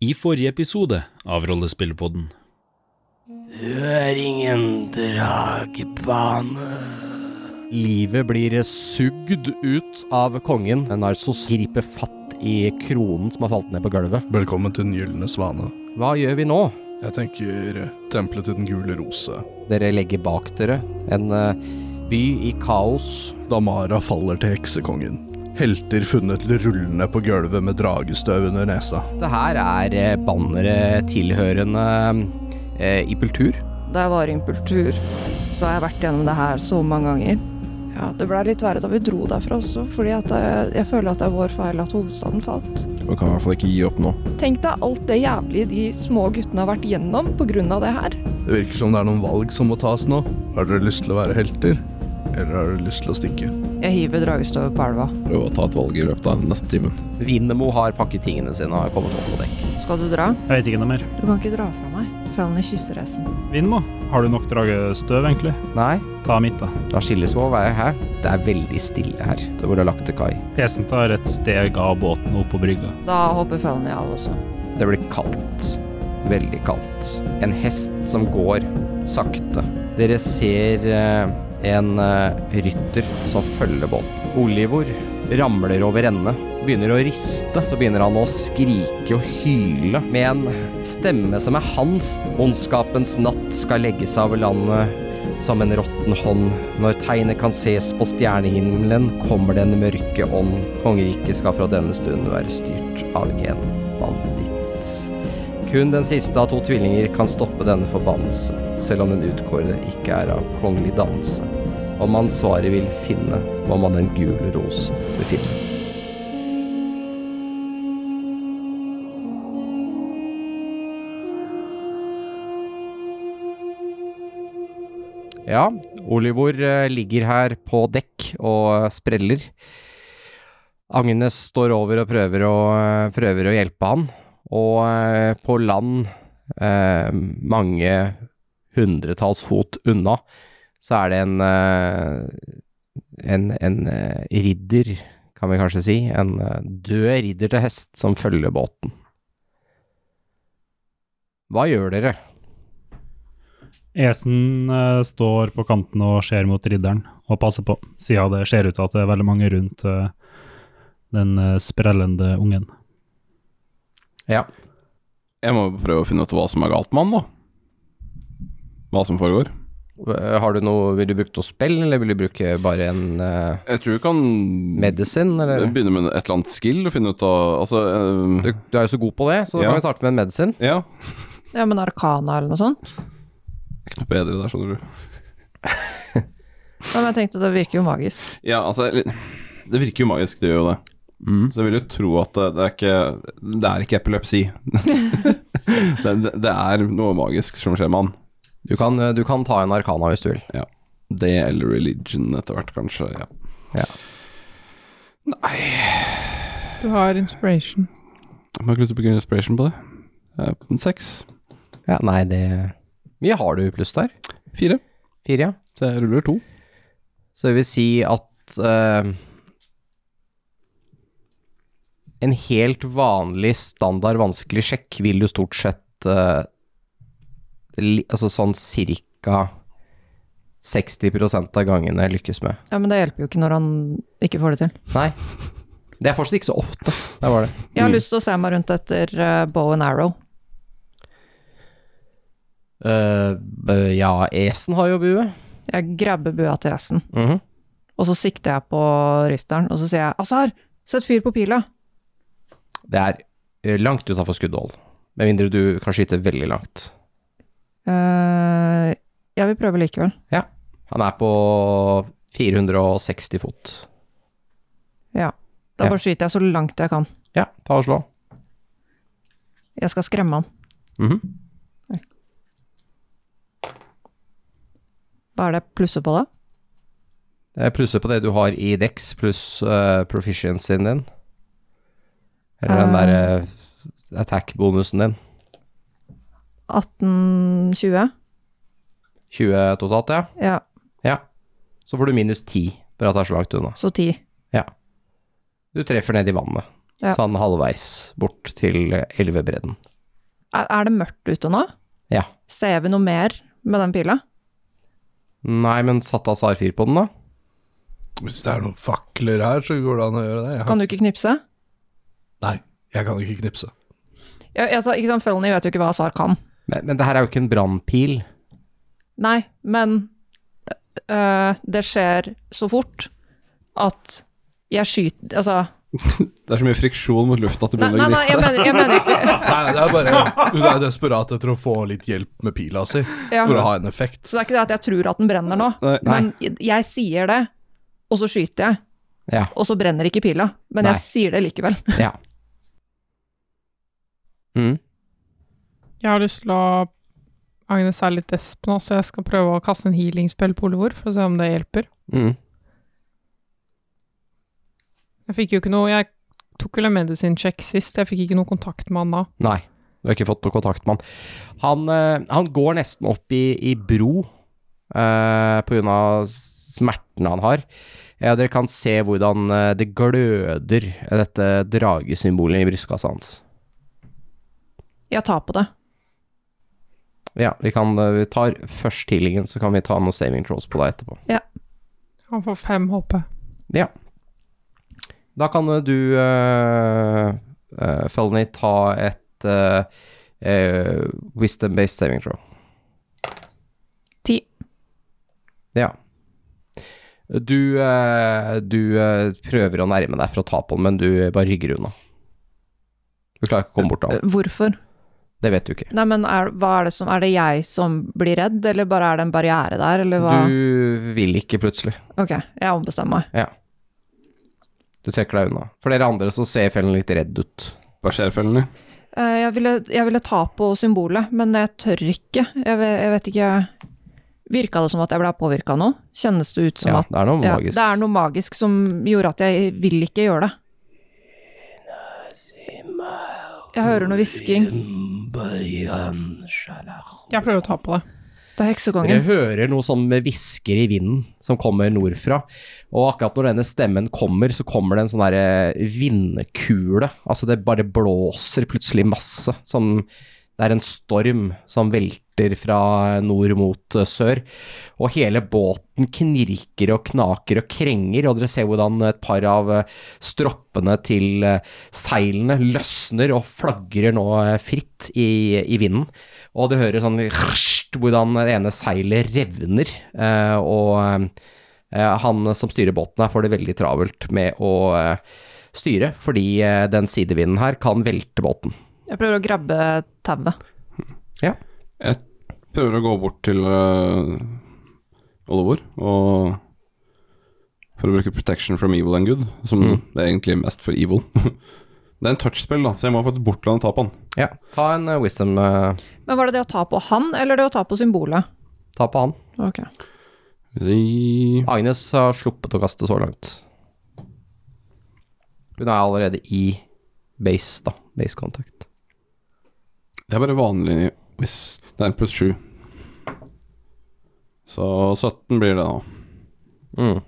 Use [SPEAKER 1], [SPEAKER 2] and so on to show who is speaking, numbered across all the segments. [SPEAKER 1] I forrige episode av Rollespillpodden
[SPEAKER 2] Du er ingen dragebane.
[SPEAKER 3] Livet blir sugd ut av kongen. Narsos griper fatt i kronen som har falt ned på gulvet.
[SPEAKER 4] Velkommen til Den gylne svane.
[SPEAKER 3] Hva gjør vi nå?
[SPEAKER 4] Jeg tenker eh, tempelet til Den gule rose.
[SPEAKER 3] Dere legger bak dere en eh, by i kaos.
[SPEAKER 4] Damara faller til heksekongen. Helter funnet rullende på gulvet med dragestøv under nesa.
[SPEAKER 3] Det her er eh, bannere tilhørende eh, impultur.
[SPEAKER 5] Da jeg var i impultur, så har jeg vært gjennom det her så mange ganger. Ja, Det blei litt verre da vi dro derfra også, fordi at jeg, jeg føler at det er vår feil at hovedstaden falt.
[SPEAKER 6] Man kan i hvert fall ikke gi opp nå.
[SPEAKER 5] Tenk deg alt det jævlige de små guttene har vært gjennom pga. det her.
[SPEAKER 4] Det virker som det er noen valg som må tas nå. Har dere lyst til å være helter? Eller har dere lyst til å stikke?
[SPEAKER 5] Jeg hiver dragestøvet på elva.
[SPEAKER 6] Prøve å ta et valg i løpet av den neste timen.
[SPEAKER 3] Vindemo har pakket tingene sine og har kommet opp på dekk.
[SPEAKER 5] Skal du dra?
[SPEAKER 7] Jeg vet ikke noe mer.
[SPEAKER 5] Du kan ikke dra fra meg. Fellene kysser resen.
[SPEAKER 7] Vindmo, har du nok dragestøv, egentlig?
[SPEAKER 3] Nei,
[SPEAKER 7] Ta mitt, da.
[SPEAKER 3] da skilles vi over veien her. Det er veldig stille her. Det hvor det er lagt til kai.
[SPEAKER 7] Esen tar et steg av båten opp på brygga.
[SPEAKER 5] Da hopper fellene av også.
[SPEAKER 3] Det blir kaldt. Veldig kaldt. En hest som går sakte. Dere ser eh, en eh, rytter som følger båten. Olivor ramler over ende, begynner å riste. Så begynner han å skrike og hyle med en stemme som er hans. Ondskapens natt skal legge seg over landet som en råtten hånd. Når tegnet kan ses på stjernehimmelen, kommer den mørke ånd. Kongeriket skal fra denne stunden være styrt av en banditt. Kun den siste av to tvillinger kan stoppe denne forbannelse, selv om den utkårede ikke er av kongelig dannelse. Om man svaret vil finne, må man den gule rose befinne. Ja, Olivor eh, ligger her på dekk og eh, spreller. Agnes står over og prøver å, eh, prøver å hjelpe han. Og eh, på land, eh, mange hundretalls fot unna, så er det en eh, en, en eh, ridder, kan vi kanskje si. En eh, død ridder til hest som følger båten. Hva gjør dere?
[SPEAKER 7] Esen eh, står på kanten og ser mot ridderen og passer på, siden det ser ut til at det er veldig mange rundt eh, den eh, sprellende ungen.
[SPEAKER 3] Ja.
[SPEAKER 6] Jeg må prøve å finne ut hva som er galt med han, da. Hva som foregår.
[SPEAKER 3] Eh, Har du noe, vil du bruke noe spill, eller vil du bruke bare en eh,
[SPEAKER 6] Jeg tror du kan
[SPEAKER 3] medisin, eller?
[SPEAKER 6] begynne med et eller annet skill og finne ut av Altså
[SPEAKER 3] Du,
[SPEAKER 6] eh,
[SPEAKER 3] du er jo så god på det, så da
[SPEAKER 6] Ja.
[SPEAKER 3] kan vi starte med en medisin.
[SPEAKER 6] Ja.
[SPEAKER 5] Ja, men Arkana eller noe sånt?
[SPEAKER 6] Ikke noe bedre der, skjønner du.
[SPEAKER 5] Ja, men jeg tenkte det virker jo magisk.
[SPEAKER 6] Ja, altså eller, Det virker jo magisk, det gjør jo det. Så jeg vil jo tro at eh, det, det er ikke Det er ikke epilepsi. det, det, det er noe magisk som skjer med han.
[SPEAKER 3] Du kan, eh, du kan ta en arkana hvis du vil.
[SPEAKER 6] Ja. Det eller religion etter hvert, kanskje. Ja.
[SPEAKER 8] Du har inspiration.
[SPEAKER 6] Jeg har ikke lyst til å bruke inspiration på det. Eh, Seks.
[SPEAKER 3] Ja, nei, det Mye har du pluss der?
[SPEAKER 6] Fire.
[SPEAKER 3] Fire, ja.
[SPEAKER 6] Så jeg ruller to.
[SPEAKER 3] Så det vil si at eh, En helt vanlig standard vanskelig sjekk vil du stort sett eh, li, Altså sånn cirka 60 av gangene lykkes med.
[SPEAKER 5] Ja, Men det hjelper jo ikke når han ikke får det til.
[SPEAKER 3] Nei. Det er fortsatt ikke så ofte. Der var det.
[SPEAKER 5] Jeg har lyst til å se meg rundt etter eh, bow and arrow.
[SPEAKER 3] Eh, b- ja, Esen har jo bue.
[SPEAKER 5] Jeg grabber bua til hesten.
[SPEAKER 3] Mhm.
[SPEAKER 5] Og så sikter jeg på rytteren, og så sier jeg 'Azar, sett fyr på pila'.
[SPEAKER 3] Det er eh, langt utafor skuddhold. Med mindre du kan skyte veldig langt.
[SPEAKER 5] Eh, jeg vil prøve likevel.
[SPEAKER 3] Han er på 460 fot.
[SPEAKER 5] Da
[SPEAKER 3] Ja.
[SPEAKER 5] bare skyter jeg så langt jeg kan.
[SPEAKER 3] Ja, ta og slå.
[SPEAKER 5] Jeg skal skremme han.
[SPEAKER 3] Mhm.
[SPEAKER 5] Hva er det jeg plusser på da?
[SPEAKER 3] Eh, Plusser på det du har i Dex, pluss eh, proficiency-en din. Eller den
[SPEAKER 5] Eh.
[SPEAKER 3] derre attack-bonusen din.
[SPEAKER 5] 18-20?
[SPEAKER 3] 20 totalt, ja.
[SPEAKER 5] Ja,
[SPEAKER 3] ja. Så får du minus 10 for at det er så langt unna.
[SPEAKER 5] så 10.
[SPEAKER 3] Du treffer ned i vannet.
[SPEAKER 5] Ja.
[SPEAKER 3] Sånn halvveis bort til elvebredden.
[SPEAKER 5] Er, er det mørkt ute nå?
[SPEAKER 3] Ja.
[SPEAKER 5] Ser vi noe mer med den pila?
[SPEAKER 3] Nei, men satte Azar fyr på den, da?
[SPEAKER 4] Hvis det er noen fakler her, så går det an å gjøre det. Jeg, har,
[SPEAKER 5] Kan du ikke knipse?
[SPEAKER 4] nei, jeg kan ikke knipse.
[SPEAKER 5] Ja, altså, ikke sant, Felony vet jo ikke hva Azar kan.
[SPEAKER 3] Men, men det her er jo ikke en brannpil.
[SPEAKER 5] Nei, men øh, det skjer så fort at jeg skyter Altså
[SPEAKER 6] Det er så mye friksjon mot lufta at det
[SPEAKER 5] Nei, nei,
[SPEAKER 6] begynner å
[SPEAKER 5] nei jeg,
[SPEAKER 6] gniste.
[SPEAKER 5] mener, jeg mener ikke
[SPEAKER 4] Nei, det er bare Hun er desperat etter å få litt hjelp med pila si,
[SPEAKER 5] ja.
[SPEAKER 4] for å ha en effekt.
[SPEAKER 5] Så det er ikke det at jeg tror at den brenner nå,
[SPEAKER 6] Nei.
[SPEAKER 5] men jeg, jeg sier det, og så skyter jeg.
[SPEAKER 3] Ja.
[SPEAKER 5] Og så brenner ikke pila, men
[SPEAKER 3] Nei.
[SPEAKER 5] jeg sier det likevel.
[SPEAKER 3] Ja. Mm.
[SPEAKER 8] Jeg har lyst til å Agnes er litt desp nå, så jeg skal prøve å kaste en healing-spill på Olivor for å se om det hjelper.
[SPEAKER 3] Mm.
[SPEAKER 8] Jeg fikk jo ikke noe Jeg tok vel en medicine check sist, jeg fikk ikke noe kontakt med han da.
[SPEAKER 3] Nei, du har ikke fått noe kontakt med han. Han, eh, han går nesten opp i, i bro eh, på grunn av smertene han har. Ja, dere kan se hvordan eh, det gløder, eh, dette dragesymbolet i brystkassa hans.
[SPEAKER 5] Jeg tar på det.
[SPEAKER 3] Ja, vi, kan, eh, vi tar først healingen, så kan vi ta noen saving throws på deg etterpå.
[SPEAKER 8] Han får fem HP.
[SPEAKER 3] Da kan eh, du, uh, Felony, ta et eh, eh, wisdom-based saving throw.
[SPEAKER 5] Ti.
[SPEAKER 3] Ja. Du, eh, du eh, prøver å nærme deg for å ta på den, men du bare rygger unna. Du klarer ikke å komme bort til han.
[SPEAKER 5] Hvorfor?
[SPEAKER 3] Det vet du ikke.
[SPEAKER 5] Nei, men er, hva er det som Er det jeg som blir redd, eller bare er det en barriere der, eller hva?
[SPEAKER 3] Du vil ikke plutselig.
[SPEAKER 5] Ok, jeg ombestemmer meg.
[SPEAKER 3] Du trekker deg unna. For dere andre så ser fellen litt redd ut.
[SPEAKER 6] Hva skjer, fellene?
[SPEAKER 5] Eh, Jeg ville, jeg ville ta på symbolet, men jeg tør ikke. Jeg, ve- jeg vet ikke Virka det som at jeg ble påvirka nå? Kjennes det ut som
[SPEAKER 3] Ja,
[SPEAKER 5] at
[SPEAKER 3] det er noe
[SPEAKER 5] ja,
[SPEAKER 3] magisk.
[SPEAKER 5] det er noe magisk som gjorde at jeg vil ikke gjøre det? Jeg hører noe hvisking.
[SPEAKER 8] Jeg prøver å ta på det.
[SPEAKER 5] Det er
[SPEAKER 3] Dere
[SPEAKER 5] heksekongen.
[SPEAKER 3] hører noe sånn med hvisker i vinden som kommer nordfra. Og akkurat når denne stemmen kommer, så kommer det en sånn derre vindkule. Altså det bare blåser plutselig masse. Som det er en storm som velter fra nord mot eh, sør. Og hele båten knirker og knaker og krenger, og dere ser hvordan et par av eh, stroppene til eh, seilene løsner og flagrer nå eh, fritt i, i vinden. Og du hører sånn hrst, hvordan det ene seilet revner, eh, og eh, han som styrer båten her får det veldig travelt med å eh, styre, fordi eh, den sidevinden her kan velte båten.
[SPEAKER 5] Jeg prøver å grabbe tauet.
[SPEAKER 6] prøver å gå bort til øh, Oliver og For å bruke protection from evil and good, som det er egentlig mest for evil. det er en touchspill, da, så jeg må få et bortland og ta på han.
[SPEAKER 3] Ja, ta en eh, wisdom, eh,
[SPEAKER 5] Men var det det å ta på han, eller det å ta på symbolet?
[SPEAKER 3] ta på han.
[SPEAKER 5] Ok.
[SPEAKER 6] Skal vi si-
[SPEAKER 3] Agnes har sluppet å kaste så langt. Hun er allerede i base, da. Base contact.
[SPEAKER 6] Det er bare vanlig hvis Det er en pluss sju. Så 17 blir det, da.
[SPEAKER 3] Mm.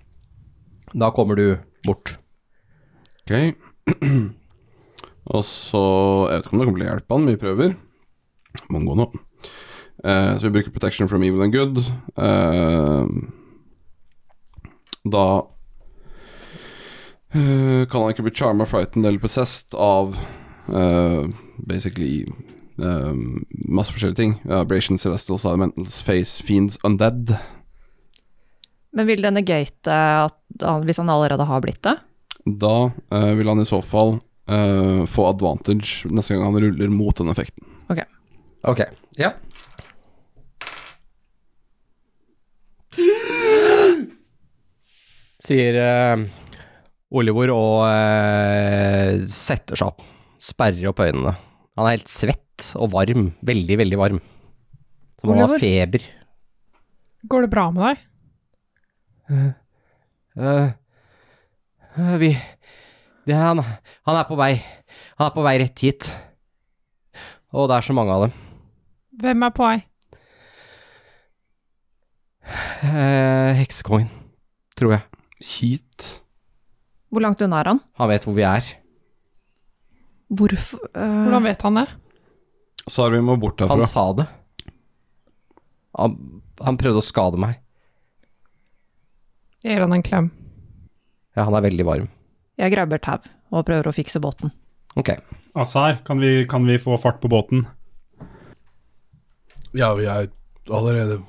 [SPEAKER 3] Da kommer du bort.
[SPEAKER 6] Ok. og så Jeg vet ikke om det kommer til å hjelpe han, men vi prøver. Må gå nå. Eh, så vi bruker protection from evil and good. Eh, da eh, kan han ikke bli charma, frightened eller possessed av eh, basically eh, masse forskjellige ting. Abrasion, celestial, sedimentals, face, fiends, undead.
[SPEAKER 5] Men vil det negate at han, hvis han allerede har blitt det?
[SPEAKER 6] Da eh, vil han i så fall eh, få advantage neste gang han ruller mot den effekten.
[SPEAKER 3] Ok. Ja. Sier eh, Oliver og eh, setter seg opp. Sperrer opp øynene. Han er helt svett og varm. Veldig, veldig varm. Som om han
[SPEAKER 5] Oliver?
[SPEAKER 3] har feber.
[SPEAKER 8] Går det bra med deg?
[SPEAKER 3] Eh, eh, vi det, er han, han er på vei. Han er på vei rett hit. Og det er så mange av dem.
[SPEAKER 8] Hvem er på vei?
[SPEAKER 3] Eh, Heksekongen, tror jeg.
[SPEAKER 6] Hit
[SPEAKER 5] Hvor langt unna er han?
[SPEAKER 3] Han vet hvor vi er.
[SPEAKER 5] Hvorfor eh,
[SPEAKER 8] Hvordan vet han det?
[SPEAKER 6] Sarvi må bort
[SPEAKER 3] Han
[SPEAKER 6] herfra.
[SPEAKER 3] sa det. Han, han prøvde å skade meg.
[SPEAKER 8] Jeg gir han en klem.
[SPEAKER 3] Ja, han er veldig varm.
[SPEAKER 9] Jeg grabber tau og prøver å fikse båten.
[SPEAKER 3] Ok.
[SPEAKER 7] Azar, kan vi, kan vi få fart på båten?
[SPEAKER 4] Ja, vi er allerede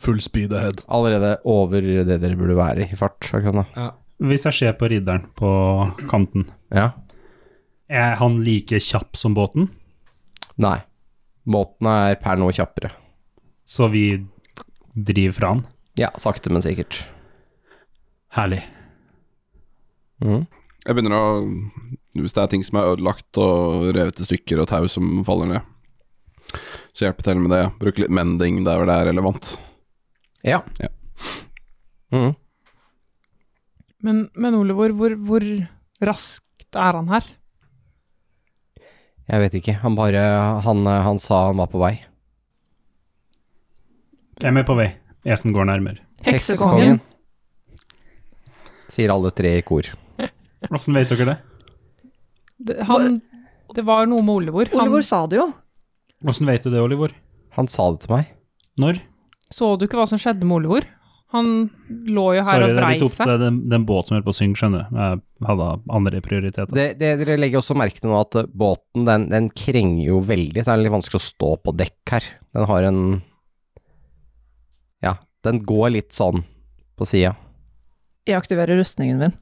[SPEAKER 4] full speed ahead.
[SPEAKER 3] Allerede over det dere burde være i fart. akkurat nå.
[SPEAKER 7] Hvis jeg ser på ridderen på kanten,
[SPEAKER 3] Ja.
[SPEAKER 7] er han like kjapp som båten?
[SPEAKER 3] Nei. Båten er per nå kjappere.
[SPEAKER 7] Så vi driver fra han.
[SPEAKER 3] Ja, sakte, men sikkert.
[SPEAKER 7] Herlig.
[SPEAKER 3] Mhm.
[SPEAKER 6] Jeg begynner å Hvis det er ting som er ødelagt og revet i stykker og tau som faller ned, så hjelper jeg til med det. Bruke litt mending der hvor det er relevant.
[SPEAKER 3] Ja.
[SPEAKER 6] Ja.
[SPEAKER 3] Mhm.
[SPEAKER 8] Men, men Olivor, hvor, hvor raskt er han her?
[SPEAKER 3] Jeg vet ikke. Han bare han, han sa han var på vei.
[SPEAKER 7] Hvem er på vei? Esen går nærmere.
[SPEAKER 8] Heksekongen.
[SPEAKER 3] Sier alle tre i kor.
[SPEAKER 7] Åssen vet dere det?
[SPEAKER 8] Det, han, det var noe med Olivor. Han,
[SPEAKER 5] Olivor sa det jo.
[SPEAKER 7] Åssen vet du det, Olivor?
[SPEAKER 3] Han sa det til meg.
[SPEAKER 7] Når?
[SPEAKER 8] så du ikke hva som skjedde med Olivor? Han lå jo her
[SPEAKER 7] Sorry,
[SPEAKER 8] og
[SPEAKER 7] det er
[SPEAKER 8] brei
[SPEAKER 7] litt opp
[SPEAKER 8] seg.
[SPEAKER 7] til den, den båt som holder på å synge, skjønner du. Jeg hadde andre prioriteter.
[SPEAKER 3] Det, det Dere legger også merke til nå at eh, båten den, den krenger jo veldig, så det er litt vanskelig å stå på dekk her. Den har en Ja, den går litt sånn på sida.
[SPEAKER 9] Jeg aktiverer rustningen min.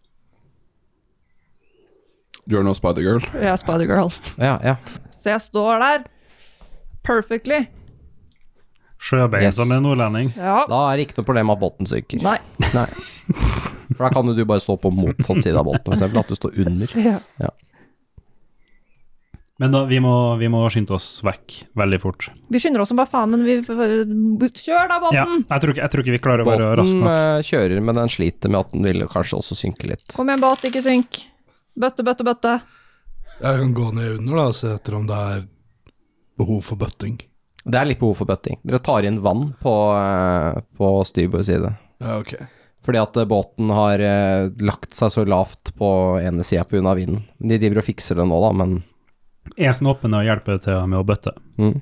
[SPEAKER 6] Du er nå Spider-Girl.
[SPEAKER 9] Jeg er Spider-Girl.
[SPEAKER 3] Ja, ja.
[SPEAKER 9] Så jeg står der perfectly.
[SPEAKER 7] Sjøbein
[SPEAKER 3] Yes.
[SPEAKER 7] som en nordlending.
[SPEAKER 9] Ja.
[SPEAKER 3] Da er det ikke noe problem at båten synker.
[SPEAKER 9] Nei.
[SPEAKER 3] Nei. For da kan jo du bare stå på motsatt side av båten, for eksempel at du står under.
[SPEAKER 7] Men da, vi må, vi må skynde oss vekk veldig fort.
[SPEAKER 9] Vi skynder oss som bare faen, men vi Kjør da,
[SPEAKER 7] Ja,
[SPEAKER 9] båten!
[SPEAKER 7] jeg tror, ikke, jeg tror ikke vi klarer å være raske
[SPEAKER 3] Båten
[SPEAKER 7] nok.
[SPEAKER 3] eh, kjører, men den sliter med at den vil kanskje også synke litt.
[SPEAKER 9] Kom igjen, båt, ikke synk. Bøtte, bøtte, bøtte.
[SPEAKER 4] Jeg kan gå ned under da, og se etter om det er behov for bøtting.
[SPEAKER 3] Det er litt behov for bøtting. Dere tar inn vann på, eh, på styrbord side.
[SPEAKER 4] Ja, ok.
[SPEAKER 3] Fordi at eh, båten har eh, lagt seg så lavt på ene sida pga. vinden. De driver og fikser det nå, da, men
[SPEAKER 7] Esen åpner og hjelper til med å bøtte.
[SPEAKER 3] mm,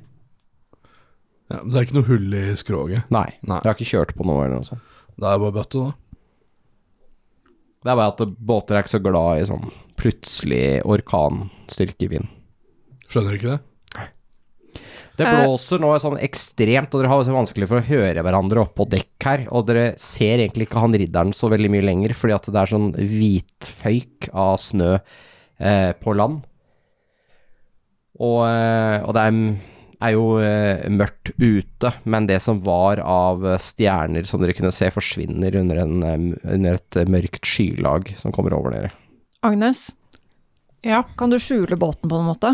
[SPEAKER 4] Ja, men det er ikke noe hull i skroget.
[SPEAKER 3] nei.
[SPEAKER 4] Nei.
[SPEAKER 3] Dere har ikke kjørt på noe eller noe sånt.
[SPEAKER 4] Det er bare bøtte, da.
[SPEAKER 3] Det er bare at eh, båter er ikke så glad i sånn plutselig orkanstyrkevind.
[SPEAKER 4] Skjønner du ikke det?
[SPEAKER 3] Det
[SPEAKER 9] Eh.
[SPEAKER 3] blåser nå sånn ekstremt, og dere har så vanskelig for å høre hverandre oppå dekk her. Og dere ser egentlig ikke han ridderen så veldig mye lenger, fordi at det er sånn hvitføyk av snø eh, på land. Og, eh, og det er, er jo eh, mørkt ute, men det som var av eh, stjerner som dere kunne se, forsvinner under, en, eh, under et eh, mørkt skylag som kommer over dere.
[SPEAKER 9] Agnes,
[SPEAKER 8] Ja,
[SPEAKER 5] Kan du skjule båten på noen måte?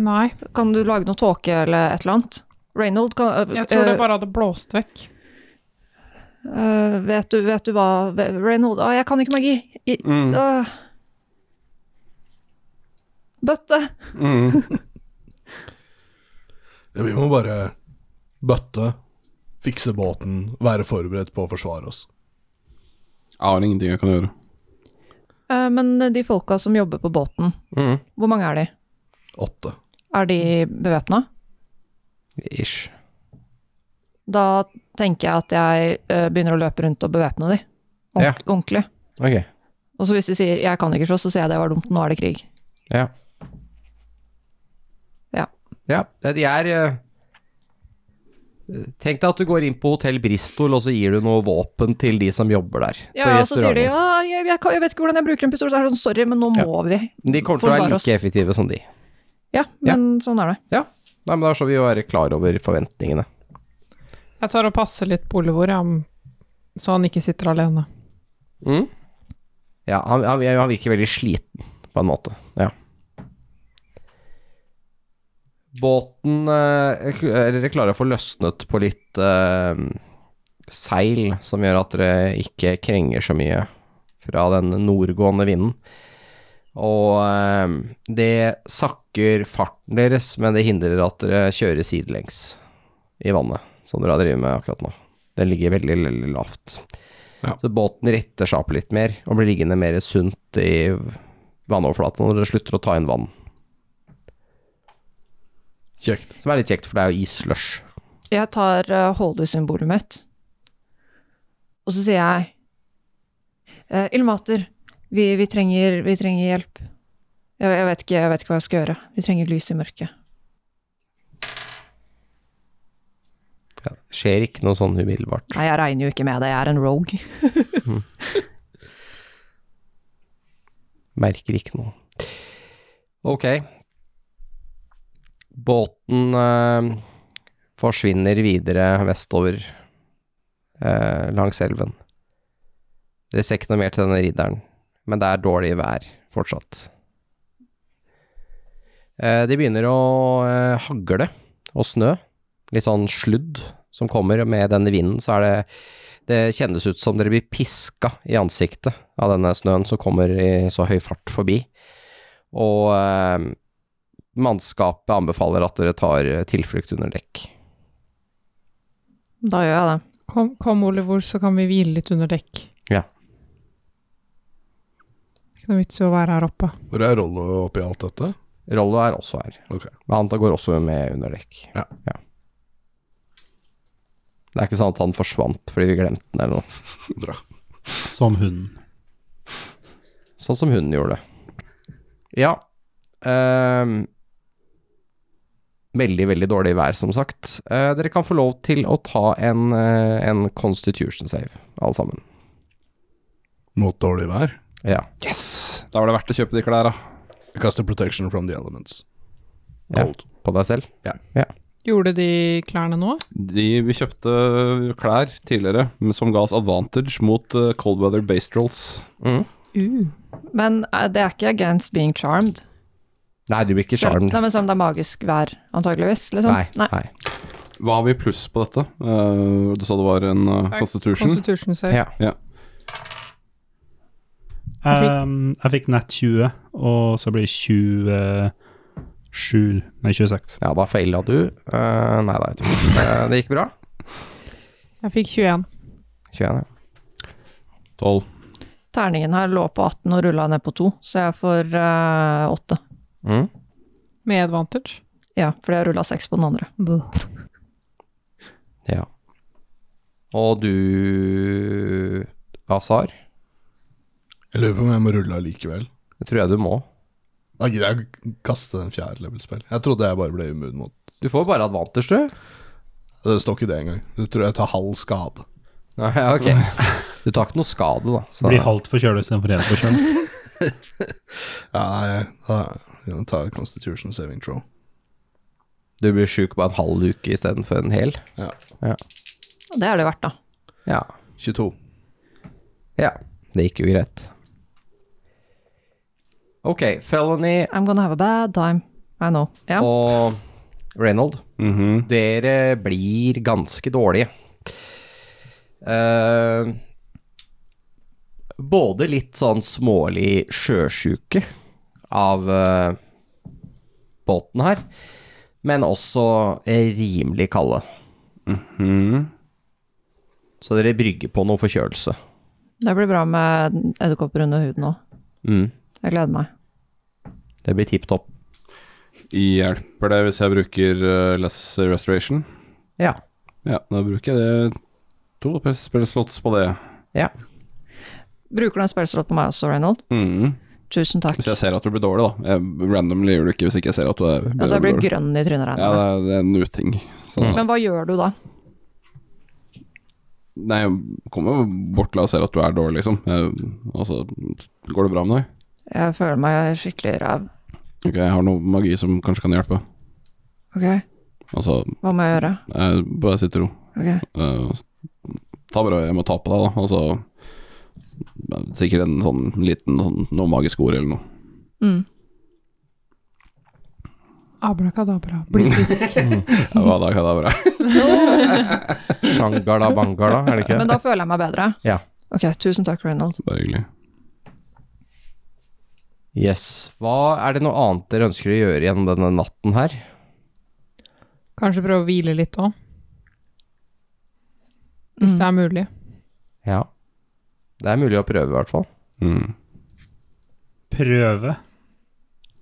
[SPEAKER 8] nei.
[SPEAKER 5] Kan du lage noe tåke eller et eller annet? Reynold, kan,
[SPEAKER 8] Jeg tror det
[SPEAKER 5] eh,
[SPEAKER 8] bare hadde blåst vekk.
[SPEAKER 5] eh, vet, du, vet du hva Reynold Å, jeg kan ikke magi! I, øh. Bøtte!
[SPEAKER 4] Ja, vi må bare bøtte, fikse båten, være forberedt på å forsvare oss.
[SPEAKER 6] Jeg har ingenting jeg kan gjøre.
[SPEAKER 5] Eh, men de folka som jobber på båten,
[SPEAKER 3] Mm.
[SPEAKER 5] hvor mange er de?
[SPEAKER 4] Åtte.
[SPEAKER 5] Er de bevæpna?
[SPEAKER 3] Ish.
[SPEAKER 5] Da tenker jeg at jeg eh, begynner å løpe rundt og bevæpne de. Ordent-
[SPEAKER 3] Ja.
[SPEAKER 5] Ordentlig.
[SPEAKER 3] Ok.
[SPEAKER 5] Og så hvis de sier 'jeg kan ikke slåss', så sier jeg det var dumt, nå er det krig.
[SPEAKER 3] Ja.
[SPEAKER 5] Ja.
[SPEAKER 3] Ja, de er eh, Tenk deg at du går inn på Hotell Bristol, og så gir du noe våpen til de som jobber der. på
[SPEAKER 5] Ja, og så sier de
[SPEAKER 3] restauranten.
[SPEAKER 5] 'ja, jeg, jeg, kan- jeg vet ikke hvordan jeg bruker en pistol', så er det sånn 'sorry, men nå
[SPEAKER 3] Ja.
[SPEAKER 5] må vi'.
[SPEAKER 3] De kommer til å være
[SPEAKER 5] forsvarer
[SPEAKER 3] like
[SPEAKER 5] oss.
[SPEAKER 3] effektive som de.
[SPEAKER 5] Ja, men sånn er det.
[SPEAKER 3] Ja, Nei, men da skal vi jo være klar over forventningene.
[SPEAKER 8] Jeg tar og passer litt på Olivor, ja, så han ikke sitter alene.
[SPEAKER 3] Mm? Ja, han, han, han virker veldig sliten, på en måte. Ja. Båten eh, k- er Dere klarer å få løsnet på litt eh, seil, som gjør at dere ikke krenger så mye fra den nordgående vinden. Og eh, det sakker farten deres, men det hindrer at dere kjører sidelengs i vannet, som dere har drevet med akkurat nå. Den ligger veldig, veldig lavt. Så båten retter seg opp litt mer og blir liggende mer sunt i vannoverflaten når dere slutter å ta inn vann.
[SPEAKER 4] Kjekt.
[SPEAKER 3] Som er litt kjekt, for det er jo isslush.
[SPEAKER 5] Jeg tar uh, holdesymbolet mitt, og så sier jeg uh, Ilmater, vi, vi, trenger, vi trenger hjelp. Jeg, jeg, vet ikke, jeg vet ikke hva jeg skal gjøre. Vi trenger lys i mørket.
[SPEAKER 3] Ja, det skjer ikke noe sånn umiddelbart.
[SPEAKER 5] Nei, jeg regner jo ikke med det, jeg er en rogue.
[SPEAKER 3] Merker ikke noe. Ok. Båten eh, forsvinner videre vestover eh, langs elven. Dere ser ikke noe mer til denne ridderen, men det er dårlig vær fortsatt. Eh, det begynner å eh, hagle og snø. Litt sånn sludd som kommer, og med denne vinden så er det det kjennes ut som dere blir piska i ansiktet av denne snøen som kommer i så høy fart forbi. Og eh, mannskapet anbefaler at dere tar eh, tilflukt under dekk.
[SPEAKER 5] Da gjør jeg det.
[SPEAKER 8] Kom, kom Olivor, så kan vi hvile litt under dekk.
[SPEAKER 3] Ja.
[SPEAKER 8] Ikke noe vits i å være her oppe.
[SPEAKER 4] Hvor er Rollo oppi alt dette?
[SPEAKER 3] Rollo er også her,
[SPEAKER 4] Ok.
[SPEAKER 3] men han går også med under dekk.
[SPEAKER 4] Ja.
[SPEAKER 3] Det er ikke sånn at han forsvant fordi vi glemte den eller noe,
[SPEAKER 4] Bra.
[SPEAKER 7] Som hunden.
[SPEAKER 3] sånn som hunden gjorde. Ja. ehm, veldig, veldig dårlig vær, som sagt. Eh, dere kan få lov til å ta en, eh, en constitution save, alle sammen.
[SPEAKER 4] Mot dårlig vær.
[SPEAKER 3] Ja.
[SPEAKER 6] Yes! Da var det verdt å kjøpe de klærne.
[SPEAKER 4] Jeg kaster protection from the elements.
[SPEAKER 3] Ja.
[SPEAKER 4] Cold.
[SPEAKER 3] På deg selv?
[SPEAKER 8] Gjorde de klærne nå?
[SPEAKER 6] De, vi kjøpte klær tidligere men som ga oss advantage mot eh, cold weather based rolls.
[SPEAKER 3] Mm.
[SPEAKER 5] Men eh, det er ikke against being charmed.
[SPEAKER 3] Nei, du blir ikke
[SPEAKER 5] Selv-
[SPEAKER 3] sjarmen.
[SPEAKER 5] Nei, men selv om det er magisk vær, antageligvis. Liksom.
[SPEAKER 3] Nei, nei.
[SPEAKER 6] Hva har vi i pluss på dette? Eh, du sa det var en eh, constitution.
[SPEAKER 8] Constitution save.
[SPEAKER 3] Ja.
[SPEAKER 8] Jeg fikk-
[SPEAKER 7] Ehm, jeg fikk nett 20, og så blir 27 Nei, 26.
[SPEAKER 3] Ja, da feila du. Eh, nei, nei, du. Eh, det gikk bra.
[SPEAKER 8] Jeg fikk 21.
[SPEAKER 3] 21, ja.
[SPEAKER 6] 12.
[SPEAKER 5] Terningen her lå på 18 og rulla ned på 2, så jeg får eh, 8.
[SPEAKER 3] Mm.
[SPEAKER 8] Med advantage.
[SPEAKER 5] Ja, fordi jeg rulla 6 på den andre.
[SPEAKER 3] ja. Og du Azar?
[SPEAKER 4] Jeg lurer på om jeg må rulle allikevel.
[SPEAKER 3] Det tror jeg du må.
[SPEAKER 4] Da gidder jeg å kaste en fjerde level-spill. Jeg trodde jeg bare ble immun mot
[SPEAKER 3] Du får bare advantage, du.
[SPEAKER 4] Det står ikke det engang. Jeg tror jeg tar halv skade.
[SPEAKER 3] Nei, ok. Du tar ikke noe skade, da. Så.
[SPEAKER 7] Blir halvt forkjøla istedenfor helt forkjøla.
[SPEAKER 4] Ja, jeg, da- jeg tar Constitution Saving Throw.
[SPEAKER 3] Du blir sjuk på en halv uke istedenfor en hel.
[SPEAKER 4] Ja.
[SPEAKER 5] Det er det verdt, da.
[SPEAKER 3] Ja.
[SPEAKER 4] 22.
[SPEAKER 3] ja. Det gikk jo greit. Ok, felony
[SPEAKER 5] I'm gonna have a bad time. I know. Ja.
[SPEAKER 3] og Reynold.
[SPEAKER 6] Mhm.
[SPEAKER 3] Dere blir ganske dårlige. Eh, både litt sånn smålig sjøsjuke av eh, båten her, men også eh, rimelig kalde.
[SPEAKER 6] Mhm.
[SPEAKER 3] Så dere brygger på noe forkjølelse.
[SPEAKER 5] Det blir bra med edderkopper under huden òg.
[SPEAKER 3] Mm,
[SPEAKER 5] Jeg gleder meg.
[SPEAKER 3] det blir tipp topp.
[SPEAKER 6] Hjelper det hvis jeg bruker eh, less restoration?
[SPEAKER 3] Ja.
[SPEAKER 6] Ja, da bruker jeg det. To spillslots på det.
[SPEAKER 5] Bruker du en spellslott på meg også, Reynold?
[SPEAKER 6] Mhm.
[SPEAKER 5] Tusen takk.
[SPEAKER 6] Hvis jeg ser at du blir dårlig, da. Jeg randomly gjør du ikke hvis ikke jeg ser at du er
[SPEAKER 5] Altså, jeg blir
[SPEAKER 6] dårlig.
[SPEAKER 5] grønn i trynet,
[SPEAKER 6] Ja,
[SPEAKER 5] regner jeg
[SPEAKER 6] det er, det er en uting. Sånn.
[SPEAKER 5] med. Men hva gjør du da?
[SPEAKER 6] Nei, jeg kommer jo bort til deg og ser at du er dårlig, liksom. Jeg, altså, går det bra med deg?
[SPEAKER 5] Jeg føler meg skikkelig ræv.
[SPEAKER 6] Ok, jeg har noe magi som kanskje kan hjelpe.
[SPEAKER 5] Ok,
[SPEAKER 6] Altså,
[SPEAKER 5] hva må jeg gjøre?
[SPEAKER 6] jeg bare sitter i ro.
[SPEAKER 5] Ok.
[SPEAKER 6] Eh, ta bare jeg må ta på deg, da. Altså, sikkert en sånn liten sånn, noe magisk ord eller noe.
[SPEAKER 5] Mm.
[SPEAKER 8] Abrakadabra. Blir frisk.
[SPEAKER 6] Ja, hva da, hva da, bra.
[SPEAKER 3] Shangala bangala, er det ikke?
[SPEAKER 5] Men da føler jeg meg bedre?
[SPEAKER 3] Ja.
[SPEAKER 5] Ok, tusen takk, Reynold.
[SPEAKER 6] Bare hyggelig.
[SPEAKER 3] Yes. Hva er det noe annet dere ønsker å gjøre gjennom denne natten her?
[SPEAKER 8] Kanskje prøve å hvile litt òg. Hvis det er mulig.
[SPEAKER 3] Ja. Det er mulig å prøve, i hvert fall.
[SPEAKER 6] Mm.
[SPEAKER 7] prøve.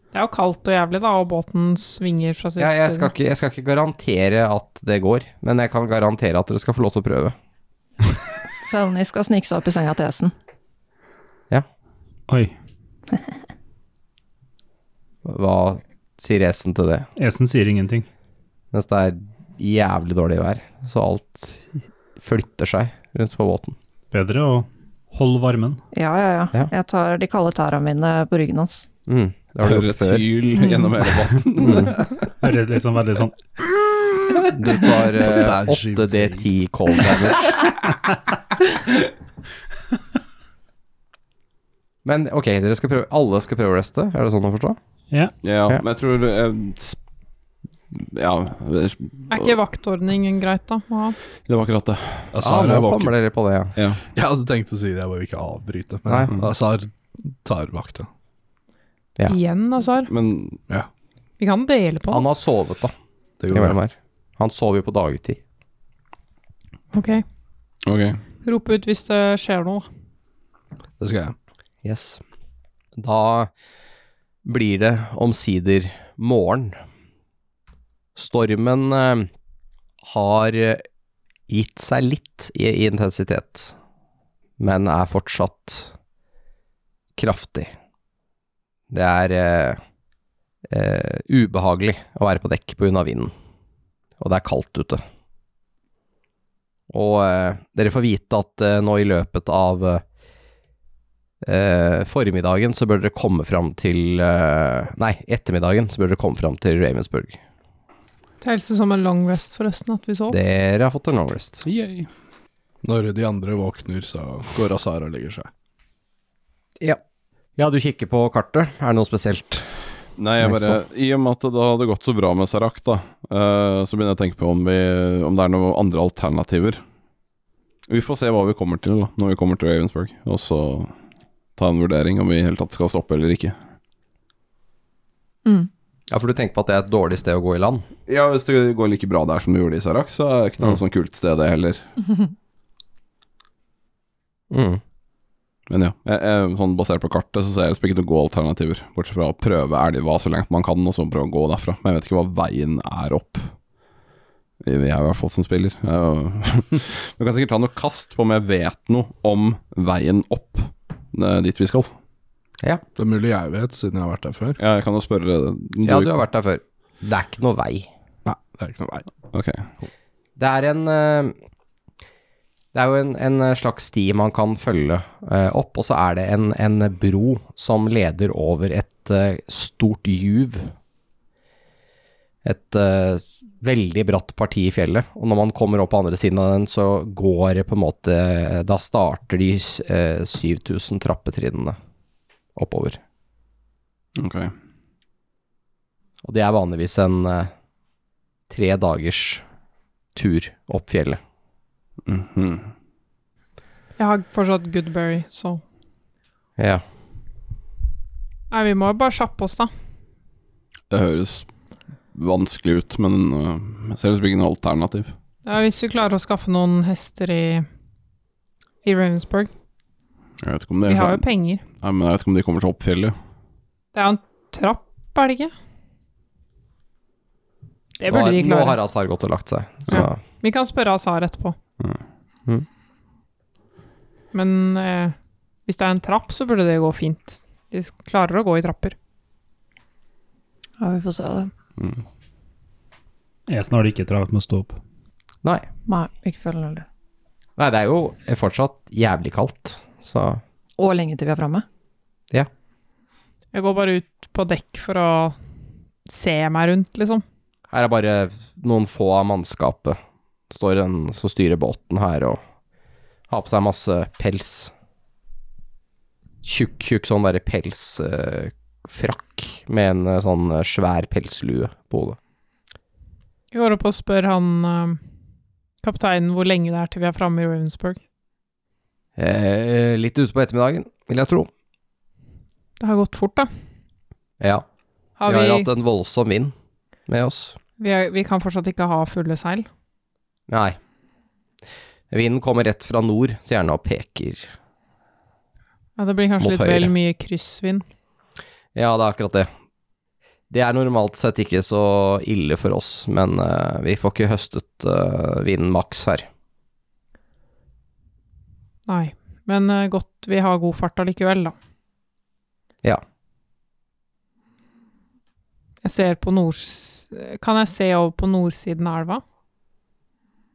[SPEAKER 8] Det er jo kaldt og jævlig, da, og båten svinger fra sitt
[SPEAKER 3] Ja, jeg, skal
[SPEAKER 8] side.
[SPEAKER 3] ikke, jeg skal ikke garantere at det går, men jeg kan garantere at dere skal få lov til å prøve.
[SPEAKER 5] Felny skal snike seg opp i senga til hesten.
[SPEAKER 7] Oi,
[SPEAKER 3] Hva sier Esen til det?
[SPEAKER 7] Esen sier ingenting.
[SPEAKER 3] Mens det er jævlig dårlig vær, så alt flytter seg rundt på båten.
[SPEAKER 7] Bedre å holde varmen.
[SPEAKER 5] Ja, ja, ja,
[SPEAKER 3] Ja.
[SPEAKER 5] Jeg tar de kalde tæra mine på ryggen hans.
[SPEAKER 3] Mm, det har du
[SPEAKER 6] Hører
[SPEAKER 3] gjort
[SPEAKER 6] et
[SPEAKER 3] før.
[SPEAKER 6] hyl gjennom hele vann.
[SPEAKER 7] Høres litt sånn veldig sånn
[SPEAKER 3] Du tar eh,
[SPEAKER 4] Banshee
[SPEAKER 3] 8D10 cold damage. Men ok, dere skal prøve, alle skal prøve å reste, er det sånn å forstå?
[SPEAKER 6] Ja,
[SPEAKER 3] Ja.
[SPEAKER 6] men jeg tror eh, sp- Ja, eh, det
[SPEAKER 8] Er ikke vaktordningen greit, da? å ha?
[SPEAKER 6] det var akkurat det.
[SPEAKER 3] Ah,
[SPEAKER 4] Azar
[SPEAKER 3] nå
[SPEAKER 4] er
[SPEAKER 3] kommer
[SPEAKER 4] våken.
[SPEAKER 3] dere på det, ja.
[SPEAKER 4] Jeg hadde tenkt å si det, jeg vil ikke avbryte. Men
[SPEAKER 3] Nei.
[SPEAKER 4] Azar tar vakta.
[SPEAKER 3] Ja.
[SPEAKER 8] Igjen, Azar.
[SPEAKER 6] Men
[SPEAKER 8] Vi kan dele på den.
[SPEAKER 3] Han har sovet, da.
[SPEAKER 4] Det går bra.
[SPEAKER 3] Imellom her. Han sover jo på dagtid.
[SPEAKER 8] Ok.
[SPEAKER 6] ok.
[SPEAKER 8] Rop ut hvis det skjer noe. da.
[SPEAKER 4] Det skal jeg.
[SPEAKER 3] Yes. Da blir det omsider morgen. Stormen eh, har eh, gitt seg litt i i intensitet, men er fortsatt kraftig. Det er eh, eh, ubehagelig å være på dekk pga. vinden, og det er kaldt ute. Og eh, dere får vite at eh, nå i løpet av eh, eh, formiddagen så bør dere komme fram til eh, Nei, ettermiddagen så bør dere komme fram til Ravensburg.
[SPEAKER 8] Telles det som en long rest, forresten, at vi sov?
[SPEAKER 3] Dere har fått en long rest.
[SPEAKER 4] Når de andre våkner, så går Azar og legger seg.
[SPEAKER 3] Ja, du kikker på kartet. Er det noe spesielt?
[SPEAKER 6] Nei, jeg bare I og med at det da hadde gått så bra med Sarak, da, eh, så begynner jeg å tenke på om, vi, om det er noen andre alternativer. Vi får se hva vi kommer til da, når vi kommer til Ravensburg, og så ta en vurdering om vi i hele tatt skal stoppe eller ikke.
[SPEAKER 3] Ja, for du tenker på at det er et dårlig sted å gå i land?
[SPEAKER 6] Ja, hvis det går like bra der som det gjorde i Sarak, så er det ikke noe sånn kult sted, det heller.
[SPEAKER 3] Mm.
[SPEAKER 6] Men ja, jeg, jeg, sånn basert på kartet så ser jeg liksom ikke noen gode alternativer, bortsett fra å prøve elva så lenge man kan, og så prøve å gå derfra. Men jeg vet ikke hva veien er opp. Jeg er i hvert fall som spiller. Jeg er jo- Vi kan sikkert ta noe kast på om jeg vet noe om veien opp eh, dit vi skal.
[SPEAKER 4] Det er mulig jeg vet, siden jeg har vært der før.
[SPEAKER 6] Ja, jeg kan jo spørre
[SPEAKER 3] Ja, du har vært der før. Det er ikke noe vei.
[SPEAKER 4] Nei, det er ikke noe vei.
[SPEAKER 6] Ok.
[SPEAKER 3] Det er en eh, Det er jo en, en eh, slags sti man kan følge eh, opp, og så er det en, en bro som leder over et eh, stort juv. Et eh, veldig bratt parti i fjellet, og når man kommer opp på andre siden av den, så går det på en måte eh, Da starter de eh, 7000 trappetrinnene oppover.
[SPEAKER 6] ok.
[SPEAKER 3] Og det er vanligvis en eh, tre dagers tur opp fjellet.
[SPEAKER 6] Mhm.
[SPEAKER 8] Jeg har fortsatt Goodberry, så
[SPEAKER 3] Ja.
[SPEAKER 8] Nei, vi må jo bare kjappe oss, da.
[SPEAKER 6] Det høres vanskelig ut, men eh, jeg ser liksom ikke noe alternativ.
[SPEAKER 8] Ja, hvis vi klarer å skaffe noen hester i, i Ravensburg.
[SPEAKER 6] Jeg vet ikke om det
[SPEAKER 8] Vi
[SPEAKER 6] er
[SPEAKER 8] har jo
[SPEAKER 6] sånn.
[SPEAKER 8] penger.
[SPEAKER 6] Nei, men jeg vet ikke om de kommer til Oppfjellet.
[SPEAKER 8] Det er jo en trapp, er det ikke? Det
[SPEAKER 3] Nå
[SPEAKER 8] burde
[SPEAKER 3] har-
[SPEAKER 8] de
[SPEAKER 3] Nå har
[SPEAKER 8] klare.
[SPEAKER 3] Azar gått og lagt seg. Så.
[SPEAKER 8] Ja. Vi kan spørre Azar etterpå.
[SPEAKER 3] Mm.
[SPEAKER 8] Men eh, hvis det er en trapp, så burde det gå fint. De s- klarer å gå i trapper.
[SPEAKER 5] Ja, vi får se det.
[SPEAKER 6] Mm.
[SPEAKER 7] Esen har det ikke travelt med å stå opp.
[SPEAKER 3] Nei.
[SPEAKER 5] Nei, ikke følg heller.
[SPEAKER 3] Nei, det er jo fortsatt jævlig kaldt, så
[SPEAKER 5] Og lenge til vi er framme.
[SPEAKER 8] Jeg går bare ut på dekk for å se meg rundt, liksom.
[SPEAKER 3] her er bare noen få av mannskapet står en som styrer båten her og har på seg masse pels. Tjukk, tjukk sånn derre pelsfrakk frakk med en eh, sånn eh, svær pelslue på hodet.
[SPEAKER 8] Jeg går opp og spør han eh, kapteinen hvor lenge det er til vi er framme i Ravensburg.
[SPEAKER 3] Eh, litt utpå ettermiddagen, vil jeg tro.
[SPEAKER 8] Det har gått fort, da.
[SPEAKER 3] Ja.
[SPEAKER 8] Har
[SPEAKER 3] vi har
[SPEAKER 8] vi,
[SPEAKER 3] hatt en voldsom vind med oss.
[SPEAKER 8] vi, er, vi kan fortsatt ikke ha fulle seil.
[SPEAKER 3] Nei. Vinden kommer rett fra nord, så gjerne og peker.
[SPEAKER 8] Ja, det blir kanskje
[SPEAKER 3] Mot
[SPEAKER 8] litt vel
[SPEAKER 3] høyre.
[SPEAKER 8] mye kryssvind.
[SPEAKER 3] Ja, det er akkurat det. Det er normalt sett ikke så ille for oss, men eh, vi får ikke høstet eh, vinen maks her.
[SPEAKER 8] Nei. Men eh, godt vi har god fart allikevel, da.
[SPEAKER 3] Ja.
[SPEAKER 8] Jeg ser på nords... Kan jeg se over på nordsiden av elva?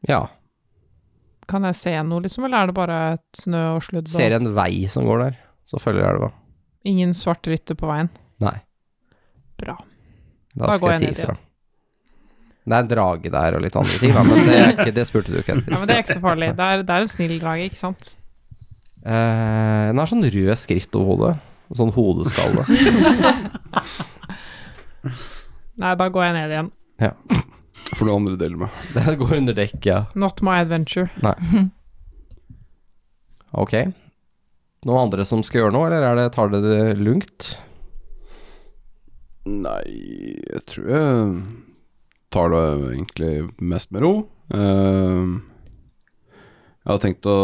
[SPEAKER 3] Ja.
[SPEAKER 8] Kan jeg se noe, liksom, eller er det bare et snø og sludd? Og
[SPEAKER 3] Ser en vei som går der, så følger elva.
[SPEAKER 8] Ingen svart rytter på veien?
[SPEAKER 3] Nei.
[SPEAKER 8] Bra.
[SPEAKER 3] Da
[SPEAKER 8] Bare
[SPEAKER 3] skal
[SPEAKER 8] gå
[SPEAKER 3] jeg si
[SPEAKER 8] ned i
[SPEAKER 3] ifra. Det er en drage der og litt andre ting, da, men det, er ikke, det spurte du ikke etter.
[SPEAKER 8] Ja, men det er ikke så farlig. Det er, det er en snill drage, ikke sant?
[SPEAKER 3] Eh, den har sånn rød skrift over hodet. og Sånn hodeskalle.
[SPEAKER 8] Nei, da går jeg ned igjen.
[SPEAKER 6] For noen andre deler med.
[SPEAKER 3] Det går under dekk, ja.
[SPEAKER 8] Not my adventure.
[SPEAKER 3] Ok. Noen andre som skal gjøre noe, eller er det, tar dere det lugnt?
[SPEAKER 6] Nei, jeg tror jeg tar det egentlig mest med ro. Eh, jeg hadde tenkt å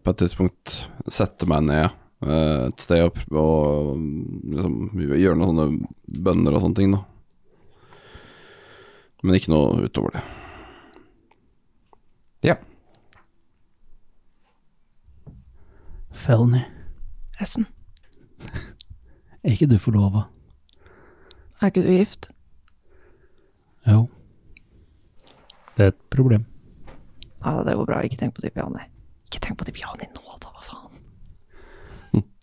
[SPEAKER 6] på et tidspunkt sette meg ned eh, et sted opp og liksom gjøre noen sånne bønner og sånne ting, da. Men ikke noe utover det.
[SPEAKER 10] Felny,
[SPEAKER 5] Essen,
[SPEAKER 10] er ikke du forlova?
[SPEAKER 5] er ikke du gift?
[SPEAKER 10] Jo. Det er et problem.
[SPEAKER 5] Ja, det går bra. Ikke tenk på de Tipiani. Ikke tenk på de Tipiani nå, da, hva faen?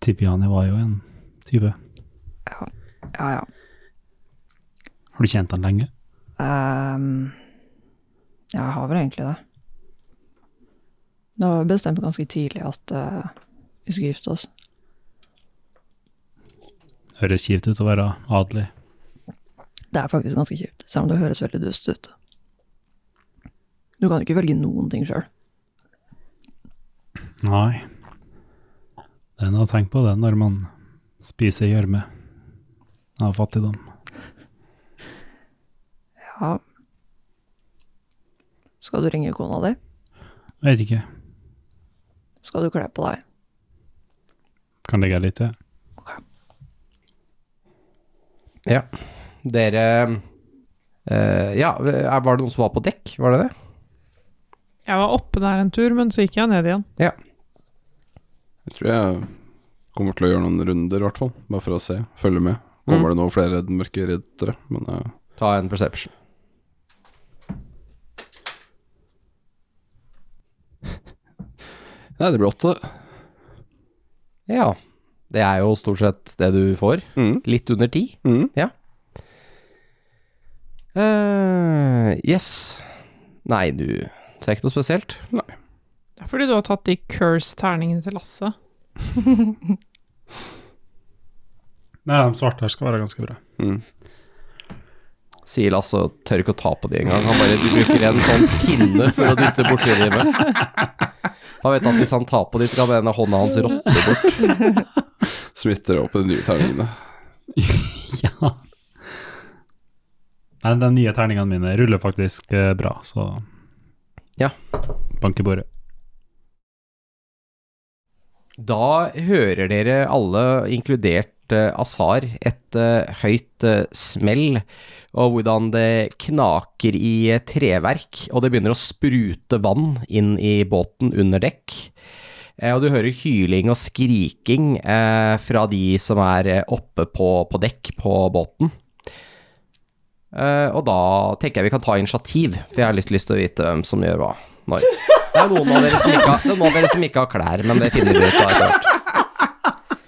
[SPEAKER 10] Tipiani var jo en type.
[SPEAKER 5] Ja, ja.
[SPEAKER 10] Har du kjent han lenge?
[SPEAKER 5] Ehm, ja, jeg har vel egentlig det. Det var bestemt ganske tidlig at eh, vi skulle gifte oss.
[SPEAKER 10] Høres kjipt ut å være adelig.
[SPEAKER 5] Det er faktisk ganske kjipt, selv om det høres veldig dust ut. Du kan jo ikke velge noen ting sjøl.
[SPEAKER 10] Nei. Det er noe å tenke på det når man spiser gjørme av fattigdom.
[SPEAKER 5] Ja. Skal du ringe kona di?
[SPEAKER 10] Vet ikke.
[SPEAKER 5] Skal du kle på deg?
[SPEAKER 10] Kan legge litt til.
[SPEAKER 3] Ja. Dere eh, Ja, er- var det noen som var på dekk? Var det det?
[SPEAKER 8] Jeg var oppe der en tur, men så gikk jeg ned igjen.
[SPEAKER 6] Jeg tror jeg kommer til å gjøre noen runder, i hvert fall. Bare for å se. Følge med. Kommer det noen flere mørke riddere? Men eh,
[SPEAKER 3] Ta en perception.
[SPEAKER 6] Nei, det blir åtte.
[SPEAKER 3] Ja. Det er jo stort sett det du får.
[SPEAKER 6] Mm.
[SPEAKER 3] Litt under ti.
[SPEAKER 6] Mm.
[SPEAKER 3] eh yes. Nei, du ser ikke noe spesielt.
[SPEAKER 8] Det er fordi du har tatt de curse-terningene til Lasse.
[SPEAKER 7] Nei, de svarte her skal være ganske bra.
[SPEAKER 6] Mm.
[SPEAKER 3] Sier Lasse og tør ikke å ta på de engang. Han bare bruker en sånn pinne for å dytte borti de med. Han vet at hvis han tar på de, skal denne hånda hans råtne bort.
[SPEAKER 6] Smitter opp i de nye terningene.
[SPEAKER 10] Ja. Nei, de nye terningene mine ruller faktisk eh, bra, så
[SPEAKER 3] Ja.
[SPEAKER 10] Bank i bordet.
[SPEAKER 3] Da hører dere alle, inkludert eh, Azar, et eh, høyt eh, smell, og hvordan det knaker i eh, treverk, og det begynner å sprute vann inn i båten under dekk. Eh, og du hører hyling og skriking eh, fra de som er eh, oppe på, på dekk på båten. Eh, og da tenker jeg vi kan ta initiativ, for jeg har litt lyst til å vite hvem som gjør hva. Når. Det er noen av dere som ikke har, det er noen av dere som ikke har klær, men det finner vi ut av etter hvert.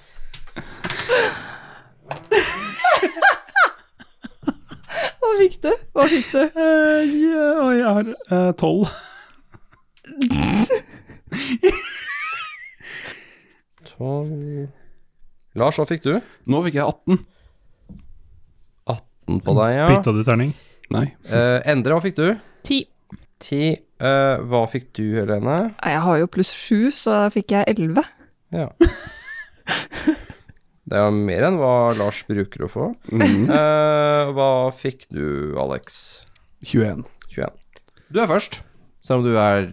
[SPEAKER 9] Hva fikk du? Hva fikk du?
[SPEAKER 10] Eh, jeg har eh, tolv.
[SPEAKER 3] Lars, hva fikk du?
[SPEAKER 6] Nå fikk jeg 18.
[SPEAKER 3] Den på deg, ja.
[SPEAKER 7] Bytta du terning?
[SPEAKER 6] Nei.
[SPEAKER 3] Eh, Endre, hva fikk du?
[SPEAKER 8] Ti.
[SPEAKER 3] Ti. Eh, hva fikk du, Helene?
[SPEAKER 9] Jeg har jo pluss sju, så da fikk jeg elleve.
[SPEAKER 3] Ja. Det er jo mer enn hva Lars bruker å få. Eh, hva fikk du, Alex?
[SPEAKER 4] 21.
[SPEAKER 3] 21. Du er først, selv om du er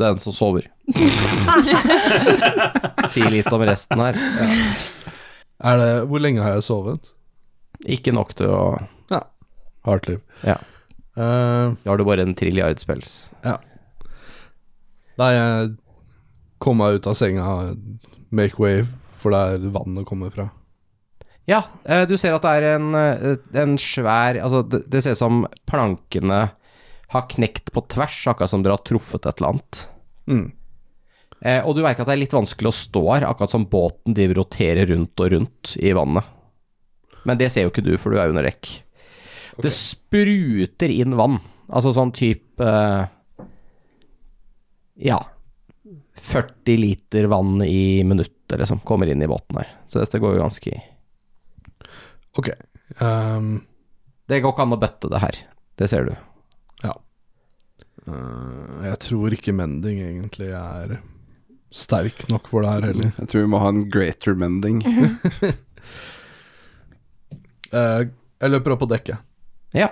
[SPEAKER 3] den som sover. Sier litt om resten her.
[SPEAKER 4] Er det, hvor lenge har jeg sovet?
[SPEAKER 3] Ikke nok til å
[SPEAKER 4] Hardt liv.
[SPEAKER 3] Ja.
[SPEAKER 4] Eh,
[SPEAKER 3] Da har du bare en trilliard spells.
[SPEAKER 4] da jeg kom meg ut av senga, make way, for det er vannet kommer fra.
[SPEAKER 3] Ja, eh, du ser at det er en, eh, en svær Altså, det, det ser ut som plankene har knekt på tvers, akkurat som dere har truffet et eller annet.
[SPEAKER 4] Mm.
[SPEAKER 3] Eh, og du merker at det er litt vanskelig å stå her, akkurat som båten driver og roterer rundt og rundt i vannet. Men det ser jo ikke du, for du er under dekk. Det spruter inn vann. Altså sånn type eh, Ja. 40 liter vann i minuttet, liksom, kommer inn i båten her. Så dette går jo ganske
[SPEAKER 4] Ok. ehm,
[SPEAKER 3] Det går ikke an å bøtte det her. Det ser du.
[SPEAKER 4] eh, jeg tror ikke mending egentlig er sterk nok for det her heller.
[SPEAKER 6] Jeg tror vi må ha en greater mending.
[SPEAKER 4] Eh, jeg løper opp på dekket,
[SPEAKER 3] Ja.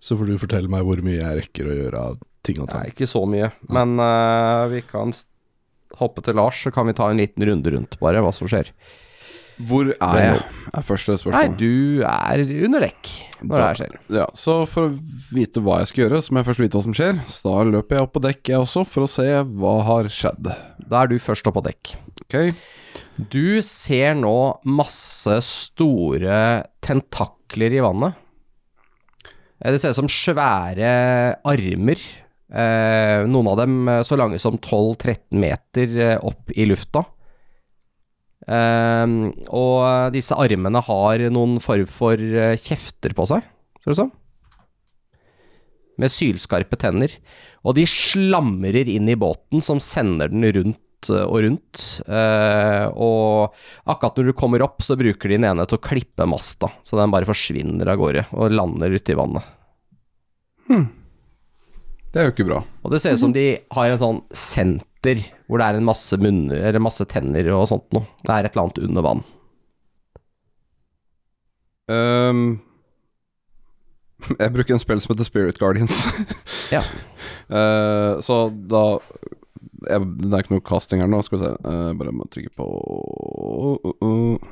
[SPEAKER 4] så får du fortelle meg hvor mye jeg rekker å gjøre av ting og tang.
[SPEAKER 3] ikke så mye. Men eh, vi kan s- hoppe til Lars, så kan vi ta en liten runde rundt, bare, hva som skjer.
[SPEAKER 6] Hvor er jeg? Er første
[SPEAKER 3] Nei,
[SPEAKER 6] spørsmål.
[SPEAKER 3] du er under dekk når det her skjer.
[SPEAKER 6] Ja, så for å vite hva jeg skal gjøre, så må jeg først vite hva som skjer. Så da løper jeg opp på dekk, jeg også, for å se hva har skjedd.
[SPEAKER 3] Da er du først oppå dekk.
[SPEAKER 6] Ok,
[SPEAKER 3] Du ser nå masse store tentakler i vannet. Eh, Det ser ut som svære armer. Eh, noen av dem eh, så lange som 12-13 meter eh, opp i lufta. Eh, og disse armene har noen form for eh, kjefter på seg, ser det ut som. Med sylskarpe tenner. Og de slamrer inn i båten, som sender den rundt eh, og rundt. Eh, og akkurat når du kommer opp, så bruker de den ene til å klippe masta, så den bare forsvinner av gårde og lander uti vannet.
[SPEAKER 6] det er jo ikke bra.
[SPEAKER 3] Og det ser ut som de har en sånn senter hvor det er en masse munner, eller masse tenner og sånt noe. Det er et eller annet under vann.
[SPEAKER 6] Ehm, jeg bruker en spill som heter Spirit Guardians.
[SPEAKER 3] Ja.
[SPEAKER 6] Eh, så da jeg, Det er ikke noe casting her nå, skal vi se. Eh, bare må trykke på uh,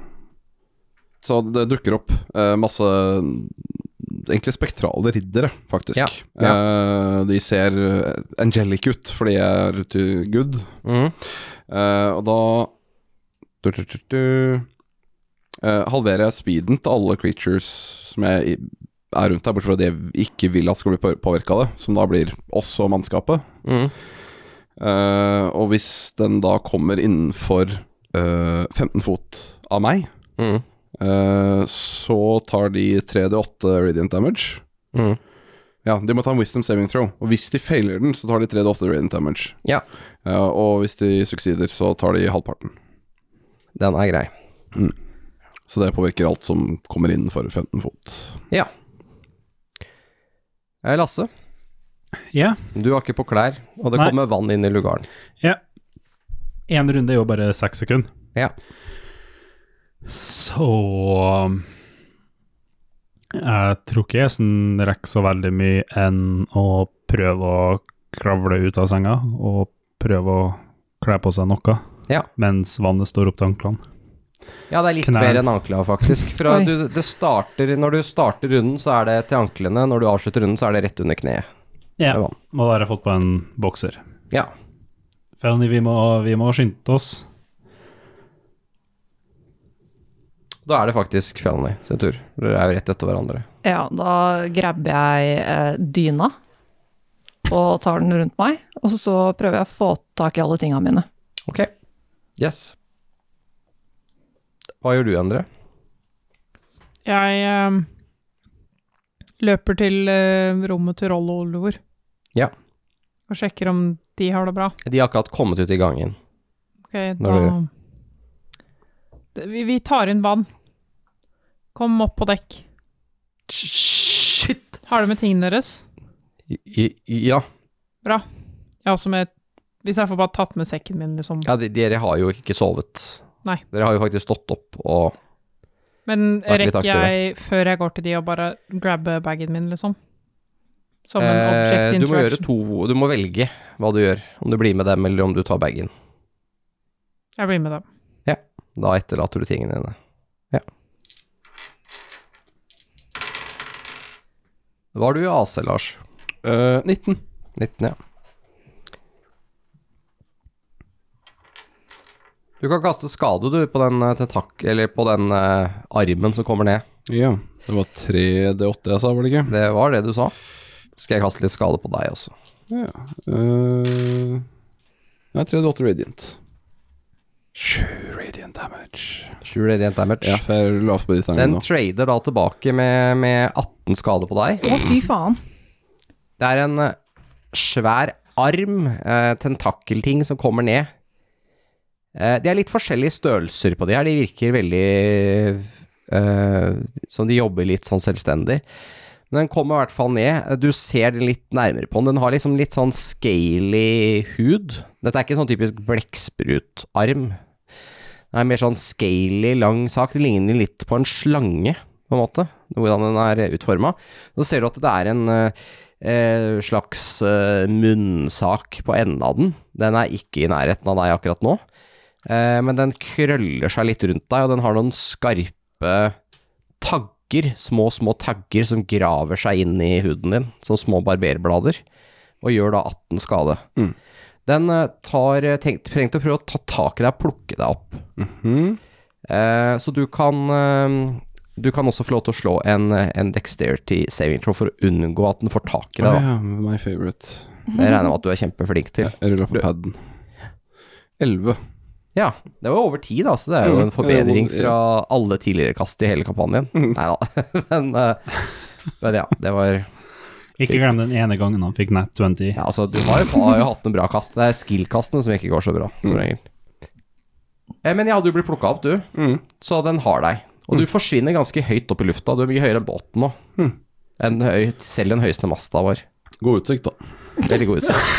[SPEAKER 6] Så det dukker opp eh, masse Egentlig spektrale riddere, faktisk.
[SPEAKER 3] Ja,
[SPEAKER 6] Eh, de ser eh, angelic ut, fordi jeg er ute i good. Eh, og da du, du, du, du. Eh, halverer jeg speeden til alle creatures som jeg i- er rundt her, bortsett fra at jeg ikke vil at skal bli påvirka av det, som da blir oss og mannskapet.
[SPEAKER 3] Mm.
[SPEAKER 6] Eh, og hvis den da kommer innenfor eh, 15 fot av meg,
[SPEAKER 3] Mm.
[SPEAKER 6] eh, så tar de 3D8 radiant damage.
[SPEAKER 3] Mm.
[SPEAKER 6] Ja, de må ta en wisdom saving throw, og hvis de failer den, så tar de 3D8 radiant damage.
[SPEAKER 3] Ja.
[SPEAKER 6] Eh, og hvis de succeeder, så tar de halvparten.
[SPEAKER 3] Den er grei.
[SPEAKER 6] Så det påvirker alt som kommer innenfor 15 fot.
[SPEAKER 3] Eh, Lasse,
[SPEAKER 10] Ja.
[SPEAKER 3] du har ikke på klær, og det
[SPEAKER 10] Nei.
[SPEAKER 3] kommer vann inn i lugaren.
[SPEAKER 10] Én runde er jo bare seks sekunder.
[SPEAKER 3] Ja.
[SPEAKER 10] Så um, Jeg tror ikke Esen rekker så veldig mye enn å prøve å kravle ut av senga og prøve å kle på seg noe
[SPEAKER 3] Ja.
[SPEAKER 10] mens vannet står opp til anklene.
[SPEAKER 3] Ja, det er litt
[SPEAKER 10] Knær.
[SPEAKER 3] bedre enn ankla, faktisk. Fra
[SPEAKER 5] Oi.
[SPEAKER 3] du, det starter, når du starter runden, så er det til anklene. Når du avslutter runden, så er det rett under kneet.
[SPEAKER 10] Ja.
[SPEAKER 3] Det var-
[SPEAKER 10] Og da har jeg fått på en bokser.
[SPEAKER 3] Ja.
[SPEAKER 10] Fanny, vi må, vi må skynde oss.
[SPEAKER 3] Da er det faktisk Felny sin tur. Dere er jo rett etter hverandre.
[SPEAKER 5] Ja, da grabber jeg eh, dyna og tar den rundt meg. Og så prøver jeg å få tak i alle tinga mine.
[SPEAKER 3] Ok. Yes. Hva gjør du, Endre?
[SPEAKER 8] Jeg ehm, løper til eh, rommet til Rollo og Oliver.
[SPEAKER 3] Ja.
[SPEAKER 8] Og sjekker om de har det bra.
[SPEAKER 3] De har akkurat kommet ut i gangen.
[SPEAKER 8] Ok, da
[SPEAKER 3] Når
[SPEAKER 8] Det- vi, vi tar inn vann. Kom opp på dekk.
[SPEAKER 3] Shit!
[SPEAKER 8] Har det med tingene deres?
[SPEAKER 3] Ja.
[SPEAKER 8] Jeg har også med Hvis jeg får bare tatt med sekken min, liksom.
[SPEAKER 3] ja de, dere har jo ikke sovet.
[SPEAKER 8] Nei.
[SPEAKER 3] Dere har jo faktisk stått opp og
[SPEAKER 8] Men
[SPEAKER 3] Vært litt
[SPEAKER 8] rekker jeg, før jeg går til de, å bare grabbe bagen min, liksom? Som en
[SPEAKER 3] Eh,
[SPEAKER 8] object
[SPEAKER 3] Du må gjøre
[SPEAKER 8] interaction.
[SPEAKER 3] to Du må velge hva du gjør. Om du blir med dem, eller om du tar bagen.
[SPEAKER 8] Jeg blir med dem.
[SPEAKER 3] Da etterlater du tingene dine. Ja. Hva har du i AC, Lars?
[SPEAKER 6] Eh, 19.
[SPEAKER 3] 19, ja. Du kan kaste skade, du, på den eh, tentak... Eller på den eh, armen som kommer ned.
[SPEAKER 6] Ja. Det var 3D8 jeg sa, var det ikke?
[SPEAKER 3] Det var det du sa. Skal jeg kaste litt skade på deg også.
[SPEAKER 6] Eh, nei, 3D8 radiant. 7 radiant damage.
[SPEAKER 3] Sju rent damage.
[SPEAKER 6] Ja, for jeg la opp på de terningene
[SPEAKER 3] Den
[SPEAKER 6] nå.
[SPEAKER 3] trader da tilbake med, med 18 skade på deg.
[SPEAKER 5] Å, fy faen.
[SPEAKER 3] Det er en eh, svær arm, eh, tentakelting, som kommer ned. Eh, de er litt forskjellige størrelser på de her. De virker veldig eh, som de jobber litt sånn selvstendig. Men den kommer i hvert fall ned. Du ser den litt nærmere på den. Den har liksom litt sånn scaly hud. Dette er ikke sånn typisk blekksprutarm. Det er mer sånn scaly, lang sak. Det ligner litt på en slange, på en måte, hvordan den er utforma. Så ser du at det er en eh, eh, slags eh, munnsak på enden av den. Den er ikke i nærheten av deg akkurat nå, eh, men den krøller seg litt rundt deg, og den har noen skarpe tagger, små, små tagger som graver seg inn i huden din, som små barberblader, og gjør da 18 skade.
[SPEAKER 6] Mm.
[SPEAKER 3] Den eh, tar, tenk, trengte å prøve å ta tak i deg og plukke deg opp.
[SPEAKER 6] Mhm.
[SPEAKER 3] Eh, så du kan eh, Du kan også få lov til å slå en, en dexterity saving throw for å unngå at den får tak i deg.
[SPEAKER 6] Å
[SPEAKER 3] Da.
[SPEAKER 6] ja, my favorite.
[SPEAKER 3] Det regner jeg med at du er kjempeflink til.
[SPEAKER 6] Jeg rulla på paden. 11.
[SPEAKER 3] Ja, det var over tid, da, så det er jo
[SPEAKER 6] Mm,
[SPEAKER 3] en forbedring
[SPEAKER 6] det er jo-
[SPEAKER 3] fra alle tidligere kast i hele kampanjen.
[SPEAKER 6] Mm.
[SPEAKER 3] Nei da, men, eh, men ja, det var
[SPEAKER 10] Ikke glem den ene gangen han fikk nat 20.
[SPEAKER 3] ja, Altså, du har jo, har jo hatt noen bra kast. Det er skill-kastene som ikke går så bra, som regel. Eh, Men ja, du blir plukka opp, du.
[SPEAKER 6] Mm.
[SPEAKER 3] Så den har deg. Og du forsvinner ganske høyt opp i lufta. Du er mye høyere enn båten nå.
[SPEAKER 6] Mm.
[SPEAKER 3] Enn høy, selv den høyeste masta vår.
[SPEAKER 6] God utsikt, da.
[SPEAKER 3] Veldig god utsikt.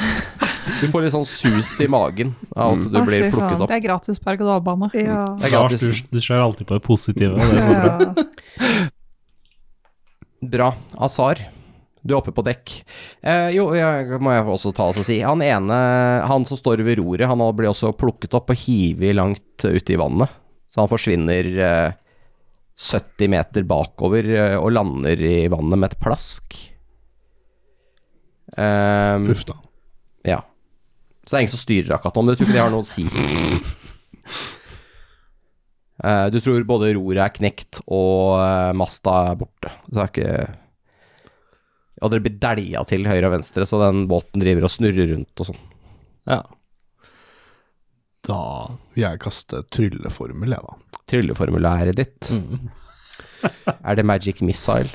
[SPEAKER 3] Du får litt sånn sus i magen av at du
[SPEAKER 9] Å,
[SPEAKER 3] blir
[SPEAKER 9] fy faen,
[SPEAKER 3] plukket opp.
[SPEAKER 8] Det er gratis berg-og-dal-bane.
[SPEAKER 9] Ja.
[SPEAKER 3] Det er
[SPEAKER 10] Lars,
[SPEAKER 3] gratis.
[SPEAKER 10] du, du ser alltid på det positive. og Det er så bra.
[SPEAKER 9] ja.
[SPEAKER 3] Bra. Azar, du er oppe på dekk. Eh, jo, jeg, må jeg også ta og si. Han ene, han som står ved roret, han blir også plukket opp og hivet langt ute i vannet. Så han forsvinner eh, 70 meter bakover eh, og lander i vannet med et plask. Eh,
[SPEAKER 4] Uff da.
[SPEAKER 3] ja. Så det er ingen som styrer akkurat nå, men jeg tror ikke det har noe å si. Eh, du tror både roret er knekt og eh, masta er borte. Så det er ikke Og dere blir dælja til høyre og venstre, så den båten driver og snurrer rundt og sånn.
[SPEAKER 4] Ja. Da vil jeg kaste trylleformel, jeg, da.
[SPEAKER 3] Trylleformulæret ditt.
[SPEAKER 4] Mm.
[SPEAKER 3] er det Magic Missile?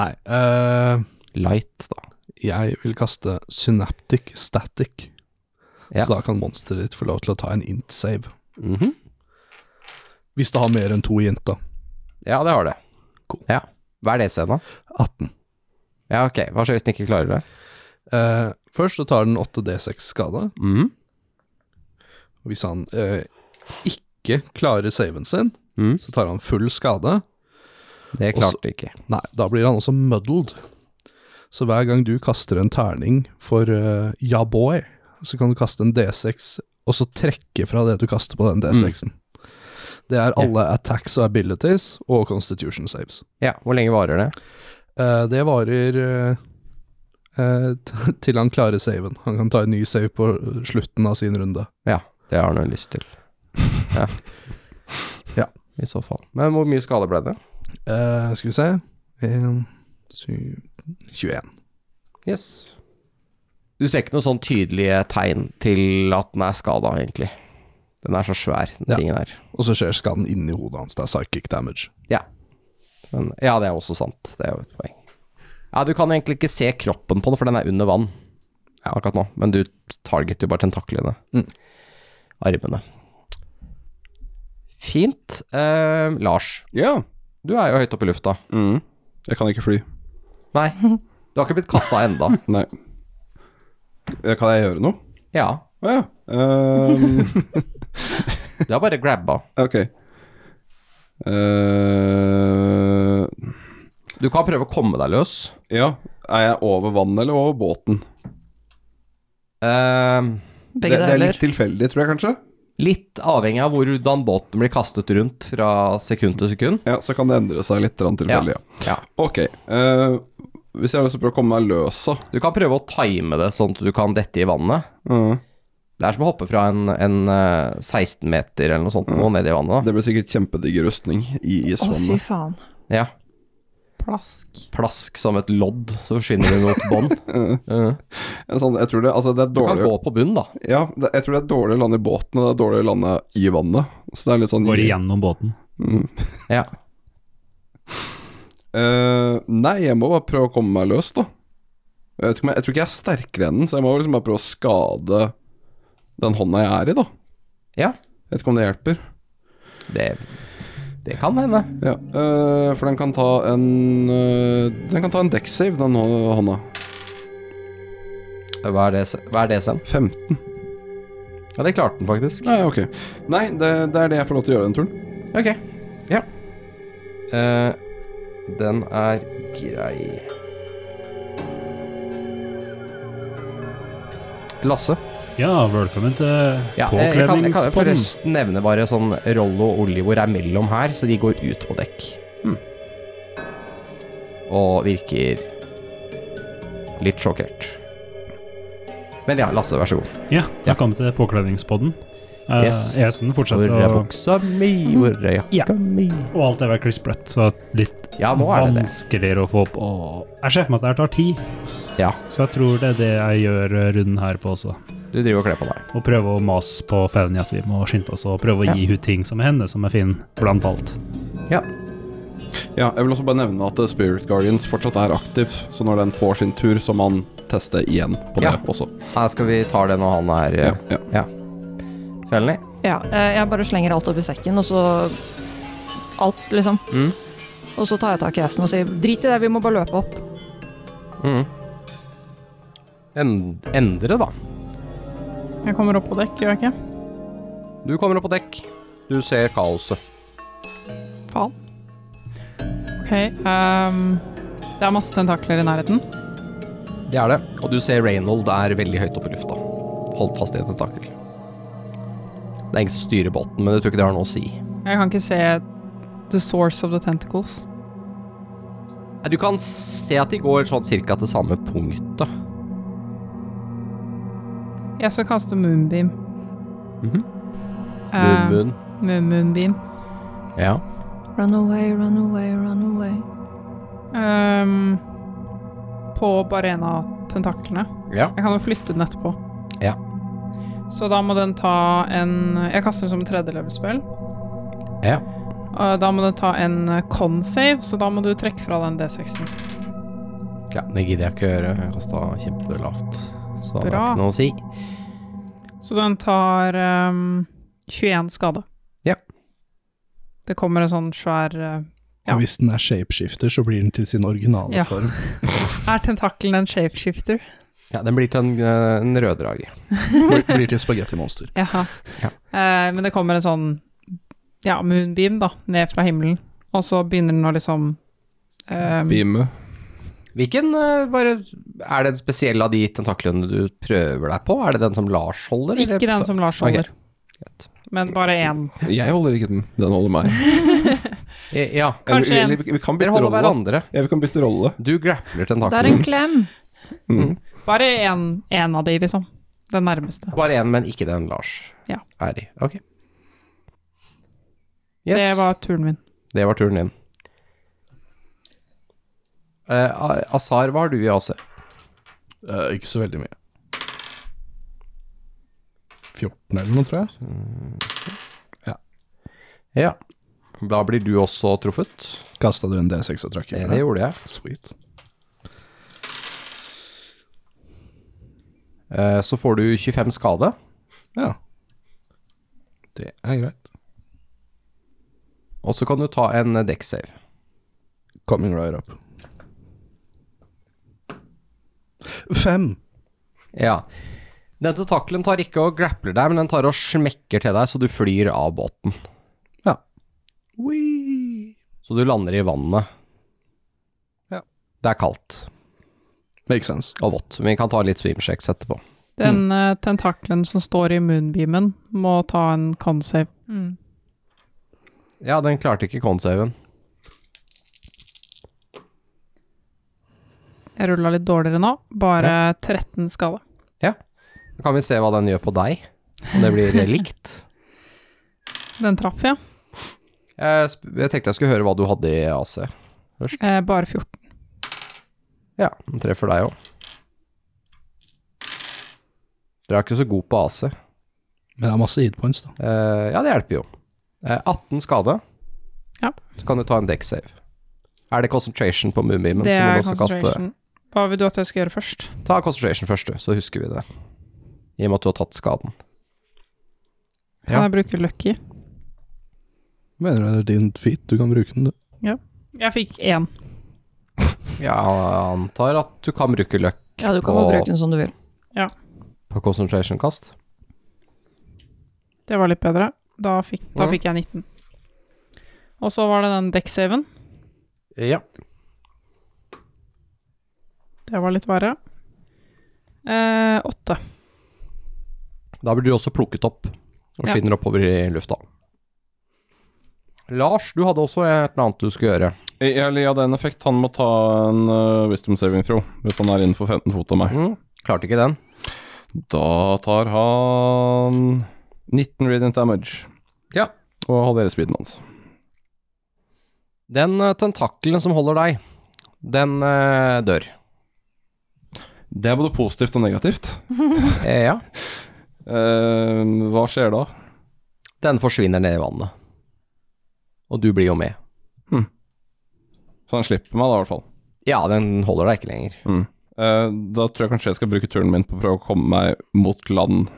[SPEAKER 4] Nei. eh,
[SPEAKER 3] Light, da.
[SPEAKER 4] jeg vil kaste synaptic static.
[SPEAKER 3] Ja.
[SPEAKER 4] Så da kan monsteret ditt få lov til å ta en int-save.
[SPEAKER 3] Mhm.
[SPEAKER 4] Hvis det har mer enn to jenter.
[SPEAKER 3] Ja, det har det.
[SPEAKER 4] Cool.
[SPEAKER 3] Ja. Hva er det scenen?
[SPEAKER 4] 18.
[SPEAKER 3] Ja, ok. Hva skjer hvis den ikke klarer det?
[SPEAKER 4] Eh, først så tar den 8D6 skade.
[SPEAKER 3] Mhm.
[SPEAKER 4] Og Hvis han eh, ikke klarer saven sin,
[SPEAKER 3] Mhm.
[SPEAKER 4] så tar han full skade.
[SPEAKER 3] Det
[SPEAKER 4] Og så-
[SPEAKER 3] klarte du ikke.
[SPEAKER 4] Nei, da blir han også muddled. Så hver gang du kaster en terning for eh, ja boy, så kan du kaste en D6, og så trekke fra det du kaster på den D6-en. Det er alle attacks og abilities og constitution saves.
[SPEAKER 3] Ja, Hvor lenge varer det?
[SPEAKER 4] Eh, det varer eh, eh, t- til han klarer saven. Han kan ta en ny save på slutten av sin runde.
[SPEAKER 3] Ja, det har han jo lyst til. Ja.
[SPEAKER 4] Ja.
[SPEAKER 3] I så fall. Men hvor mye skade ble det?
[SPEAKER 4] Eh, skal vi se 1, 7, 21.
[SPEAKER 3] Yes. Du ser ikke noen sånn tydelige tegn til at den er skada, egentlig. Den er så svær, den
[SPEAKER 4] Ja.
[SPEAKER 3] tingen her.
[SPEAKER 4] Og så skjer skaden inni hodet hans. Det er psychic damage.
[SPEAKER 3] Men, ja, det er også sant. Det er jo et poeng. Ja, du kan egentlig ikke se kroppen på den, for den er under vann akkurat nå. Men du targeter jo bare tentaklene.
[SPEAKER 4] Mm.
[SPEAKER 3] Armene. Fint. Eh, Lars,
[SPEAKER 6] Ja.
[SPEAKER 3] du er jo høyt oppe i lufta.
[SPEAKER 6] Mhm. Jeg kan ikke fly.
[SPEAKER 3] Nei, du har ikke blitt kasta enda.
[SPEAKER 6] Nei. Eh, Kan jeg gjøre noe?
[SPEAKER 3] Ja,
[SPEAKER 6] Å ja. Ehm,
[SPEAKER 3] du har bare grabba.
[SPEAKER 6] ok. Eh,
[SPEAKER 3] Du kan prøve å komme deg løs.
[SPEAKER 6] ja. Er jeg over vannet eller over båten?
[SPEAKER 3] Ehm,
[SPEAKER 6] Det,
[SPEAKER 5] Begge
[SPEAKER 6] det er
[SPEAKER 5] deler.
[SPEAKER 6] litt tilfeldig, tror jeg kanskje.
[SPEAKER 3] Eh, Litt avhengig av hvordan båten blir kastet rundt fra sekund til sekund.
[SPEAKER 6] Ja, så kan det endre seg litt grann tilfeldig, ja.
[SPEAKER 3] Ja.
[SPEAKER 6] Ok. eh, hvis jeg har lyst til å prøve å komme meg løs, da.
[SPEAKER 3] Du kan prøve å time det sånn at du kan dette i vannet.
[SPEAKER 5] Mm.
[SPEAKER 6] Eh,
[SPEAKER 3] Det er som å hoppe fra en, en eh, 16 meter eller noe sånt og ned i vannet.
[SPEAKER 6] det blir sikkert kjempedigg rustning i
[SPEAKER 5] Å, fy faen.
[SPEAKER 6] isvannet.
[SPEAKER 3] sånn, da. Ja.
[SPEAKER 8] Plask.
[SPEAKER 3] Plask som et lodd, så forsvinner det mot bånn. Eh,
[SPEAKER 6] En sånn, jeg tror det, altså, det er
[SPEAKER 3] Du kan
[SPEAKER 6] dårlig
[SPEAKER 3] gå på bunnen, da.
[SPEAKER 6] Ja, det, jeg tror det er dårlig å lande i båten, og det er dårlig å lande i vannet. Så det er litt sånn
[SPEAKER 10] Går igjennom båten.
[SPEAKER 6] Mm.
[SPEAKER 3] Ja.
[SPEAKER 6] Eh, nei, jeg må bare prøve å komme meg løs, da. Jeg, vet ikke, om jeg, jeg tror ikke jeg er sterkere enn den, så jeg må liksom bare prøve å skade den hånda jeg er i, da.
[SPEAKER 3] Ja.
[SPEAKER 6] Jeg vet ikke om det hjelper.
[SPEAKER 3] Det, det kan hende.
[SPEAKER 6] Ja, eh, for den kan ta en eh, Den kan ta en dekksave, den hå- hånda.
[SPEAKER 3] Hva er det, se- hva er det sen?
[SPEAKER 6] 15.
[SPEAKER 3] Ja, det klarte den faktisk.
[SPEAKER 6] Nei, ok. Nei, det, det er det jeg får lov til å gjøre den turen.
[SPEAKER 3] Ok. Ja. Eh, den er grei. Lasse?
[SPEAKER 10] Ja, velkommen til
[SPEAKER 3] Ja, eh, jeg kan, jeg kan
[SPEAKER 10] påkledningspodden.
[SPEAKER 3] forresten nevne bare sånn Rollo og Olivor er mellom her, så de går ut på dekk. Og virker litt sjokkert. Men ja, Lasse, vær så god.
[SPEAKER 10] Ja, velkommen til påkledningspodden. Eh,
[SPEAKER 3] Yes.
[SPEAKER 10] Esen fortsetter å
[SPEAKER 3] Orrebuksa mi,
[SPEAKER 10] Ja.
[SPEAKER 3] orrejakka mi
[SPEAKER 10] Og alt er vel Chris Brett, så litt
[SPEAKER 3] Ja, nå er det det.
[SPEAKER 10] vanskeligere å få opp. Å, Jeg ser for meg at det her tar tid,
[SPEAKER 3] Ja,
[SPEAKER 10] så jeg tror det er det jeg gjør eh, runden her på også.
[SPEAKER 3] du driver og kler på deg.
[SPEAKER 10] Og prøve å mase på Fevny at vi må skynde oss, og prøve å
[SPEAKER 3] Ja.
[SPEAKER 10] gi hun ting som er henne, som er fin, blant alt.
[SPEAKER 3] Ja.
[SPEAKER 6] Ja, jeg vil også bare nevne at eh, Spirit Guardians fortsatt er aktiv, så når den får sin tur, så må han teste igjen på det
[SPEAKER 3] Ja.
[SPEAKER 6] også.
[SPEAKER 3] Her skal vi ta det når han er
[SPEAKER 6] Ja,
[SPEAKER 3] eh,
[SPEAKER 6] ja.
[SPEAKER 3] Felny.
[SPEAKER 5] Ja, eh, jeg bare slenger alt opp i sekken, og så Alt, liksom.
[SPEAKER 3] Mm.
[SPEAKER 5] Og så tar jeg tak i hesten og sier drit i det, vi må bare løpe opp.
[SPEAKER 3] Mm. En, endre, da.
[SPEAKER 8] Jeg kommer opp på dekk, gjør jeg ikke?
[SPEAKER 3] Du kommer opp på dekk. Du ser kaoset.
[SPEAKER 8] Faen. Ok, ehm, det er masse tentakler i nærheten.
[SPEAKER 3] Det er det. Og du ser Reynold er veldig høyt oppe i lufta. Holdt fast i et tentakel. Det er ingen som styrer båten, men jeg tror ikke det har noe å si.
[SPEAKER 8] Jeg kan ikke se the source of the tentacles.
[SPEAKER 3] Nei, Du kan se at de går sånn cirka til samme punktet.
[SPEAKER 8] Jeg skal kaste moonbeam.
[SPEAKER 3] Mhm.
[SPEAKER 8] Eh,
[SPEAKER 3] Moon, moon.
[SPEAKER 8] moon- moonbeam.
[SPEAKER 3] Ja.
[SPEAKER 5] Run away, run away, run away.
[SPEAKER 8] Ehm, på Barena-tentaklene.
[SPEAKER 3] ja.
[SPEAKER 8] Jeg kan jo flytte den etterpå.
[SPEAKER 3] Ja.
[SPEAKER 8] Så da må den ta en Jeg kaster den som en tredjelevelspill.
[SPEAKER 3] Ja.
[SPEAKER 8] Og da må den ta en con-save, så da må du trekke fra den D6-en.
[SPEAKER 3] Ja, det gidder jeg ikke å gjøre. Jeg kasta kjempelavt. Så det har
[SPEAKER 8] Bra.
[SPEAKER 3] ikke noe å si.
[SPEAKER 8] Så den tar ehm, 21 skade.
[SPEAKER 3] Ja.
[SPEAKER 8] Det kommer en sånn svær eh, Ja.
[SPEAKER 4] Og hvis den er shapeshifter, så blir den til sin originale
[SPEAKER 8] Ja.
[SPEAKER 4] form.
[SPEAKER 8] Er tentakelen en shapeshifter?
[SPEAKER 3] Ja, den blir til en, eh, en røddrage.
[SPEAKER 4] Blir, blir til spagettimonster.
[SPEAKER 8] Jaha.
[SPEAKER 3] Ja.
[SPEAKER 8] Eh, men det kommer en sånn ja, moonbeam da, ned fra himmelen, og så begynner den å liksom ehm,
[SPEAKER 6] Beame.
[SPEAKER 3] Hvilken eh, bare, Er det en spesiell av de tentaklene du prøver deg på? Er det den som Lars holder? eller?
[SPEAKER 8] Ikke den som Lars
[SPEAKER 3] Ok,
[SPEAKER 8] holder,
[SPEAKER 3] greit.
[SPEAKER 8] men bare én.
[SPEAKER 6] Jeg holder ikke den. Den holder meg.
[SPEAKER 3] Eh, Ja.
[SPEAKER 8] Kanskje
[SPEAKER 6] Eller-
[SPEAKER 8] en-
[SPEAKER 6] eller vi- Vi kan
[SPEAKER 3] Dere
[SPEAKER 6] bytte
[SPEAKER 3] holder
[SPEAKER 6] rolle. da.
[SPEAKER 3] hverandre.
[SPEAKER 6] Ja, vi kan bytte rolle.
[SPEAKER 3] Du grappler
[SPEAKER 5] Det er en
[SPEAKER 3] tentakelen.
[SPEAKER 5] klem.
[SPEAKER 3] Mm.
[SPEAKER 8] Bare én av de, liksom. Den nærmeste.
[SPEAKER 3] Bare én, men ikke den Lars
[SPEAKER 8] Ja.
[SPEAKER 3] er i. Ok. Yes.
[SPEAKER 8] Det var turen min.
[SPEAKER 3] det var turen din. Eh, Azar, hva har du i AC?
[SPEAKER 4] Eh, ikke så veldig mye. 14 eller noe, tror jeg.
[SPEAKER 3] Ja. Da blir du også truffet.
[SPEAKER 4] Kasta du en D6 og trakk i?
[SPEAKER 3] Det, det gjorde jeg.
[SPEAKER 4] Sweet.
[SPEAKER 3] Eh, Så får du 25 skade.
[SPEAKER 4] Ja. Det er greit.
[SPEAKER 3] Og så kan du ta en dekksave.
[SPEAKER 4] Coming right up. Fem.
[SPEAKER 3] Ja. Den tentakelen tar ikke og grappler deg, men den tar og smekker til deg, så du flyr av båten.
[SPEAKER 4] Ja.
[SPEAKER 3] Så du lander i vannet.
[SPEAKER 4] Ja.
[SPEAKER 3] Det er kaldt
[SPEAKER 4] Makes sense.
[SPEAKER 3] og vått. men Vi kan ta litt swimshakes etterpå.
[SPEAKER 8] Den
[SPEAKER 3] Mm.
[SPEAKER 8] eh, tentaklen som står i moonbeamen, må ta en consave.
[SPEAKER 5] Mm.
[SPEAKER 3] Ja, den klarte ikke consaven.
[SPEAKER 8] Jeg rulla litt dårligere nå, bare 13 skade.
[SPEAKER 3] Da kan vi se hva den gjør på deg. Om det blir likt.
[SPEAKER 8] Den traff jeg.
[SPEAKER 3] Jeg, sp- jeg tenkte jeg skulle høre hva du hadde i AC.
[SPEAKER 8] Eh, bare 14.
[SPEAKER 3] Ja, den treffer deg òg. Dere er ikke så god på AC.
[SPEAKER 4] Men det er masse hitpoints, da.
[SPEAKER 3] Eh, ja, det hjelper jo. Eh, 18 skade.
[SPEAKER 8] Ja.
[SPEAKER 3] Så kan du ta en deck save. Er det concentration på moonbeamen,
[SPEAKER 8] Det
[SPEAKER 3] så må
[SPEAKER 8] er
[SPEAKER 3] du også kaste
[SPEAKER 8] concentration. Hva vil du at jeg skal gjøre først?
[SPEAKER 3] Ta concentration først, du, så husker vi det. I og med at du har tatt skaden.
[SPEAKER 8] Kan
[SPEAKER 3] Ja.
[SPEAKER 8] jeg bruke lucky?
[SPEAKER 4] Mener du det er din feat? Du kan bruke den, du.
[SPEAKER 8] Jeg fikk én.
[SPEAKER 3] Jeg antar at du kan bruke løkk
[SPEAKER 5] Ja, du kan bare bruke den som du vil.
[SPEAKER 3] på concentration-kast.
[SPEAKER 8] Det var litt bedre. Da fikk, da
[SPEAKER 3] Ja.
[SPEAKER 8] fikk jeg 19. Og så var det den dekksaven.
[SPEAKER 3] Ja.
[SPEAKER 8] Det var litt verre. Eh, åtte.
[SPEAKER 3] Da blir du også plukket opp og
[SPEAKER 8] Ja.
[SPEAKER 3] skinner oppover i lufta. Lars, du hadde også et eller annet du skulle gjøre.
[SPEAKER 6] Eh, Eller ja, det er en effekt. Han må ta en eh, wisdom saving throw hvis han er innenfor 15 fot av meg.
[SPEAKER 3] Mm. Klarte ikke den.
[SPEAKER 6] Da tar han 19 radiant damage.
[SPEAKER 3] Ja.
[SPEAKER 6] Og halverer speeden hans.
[SPEAKER 3] Den eh, tentakelen som holder deg, den eh, dør.
[SPEAKER 6] Det er både positivt og negativt.
[SPEAKER 3] Eh, ja.
[SPEAKER 6] Eh, hva skjer da?
[SPEAKER 3] Den forsvinner ned i vannet. Og du blir jo med.
[SPEAKER 6] Så han slipper meg, da, i hvert fall.
[SPEAKER 3] Ja, den holder deg ikke lenger.
[SPEAKER 6] Eh, da tror jeg kanskje jeg skal bruke turen min på å prøve å komme meg mot land.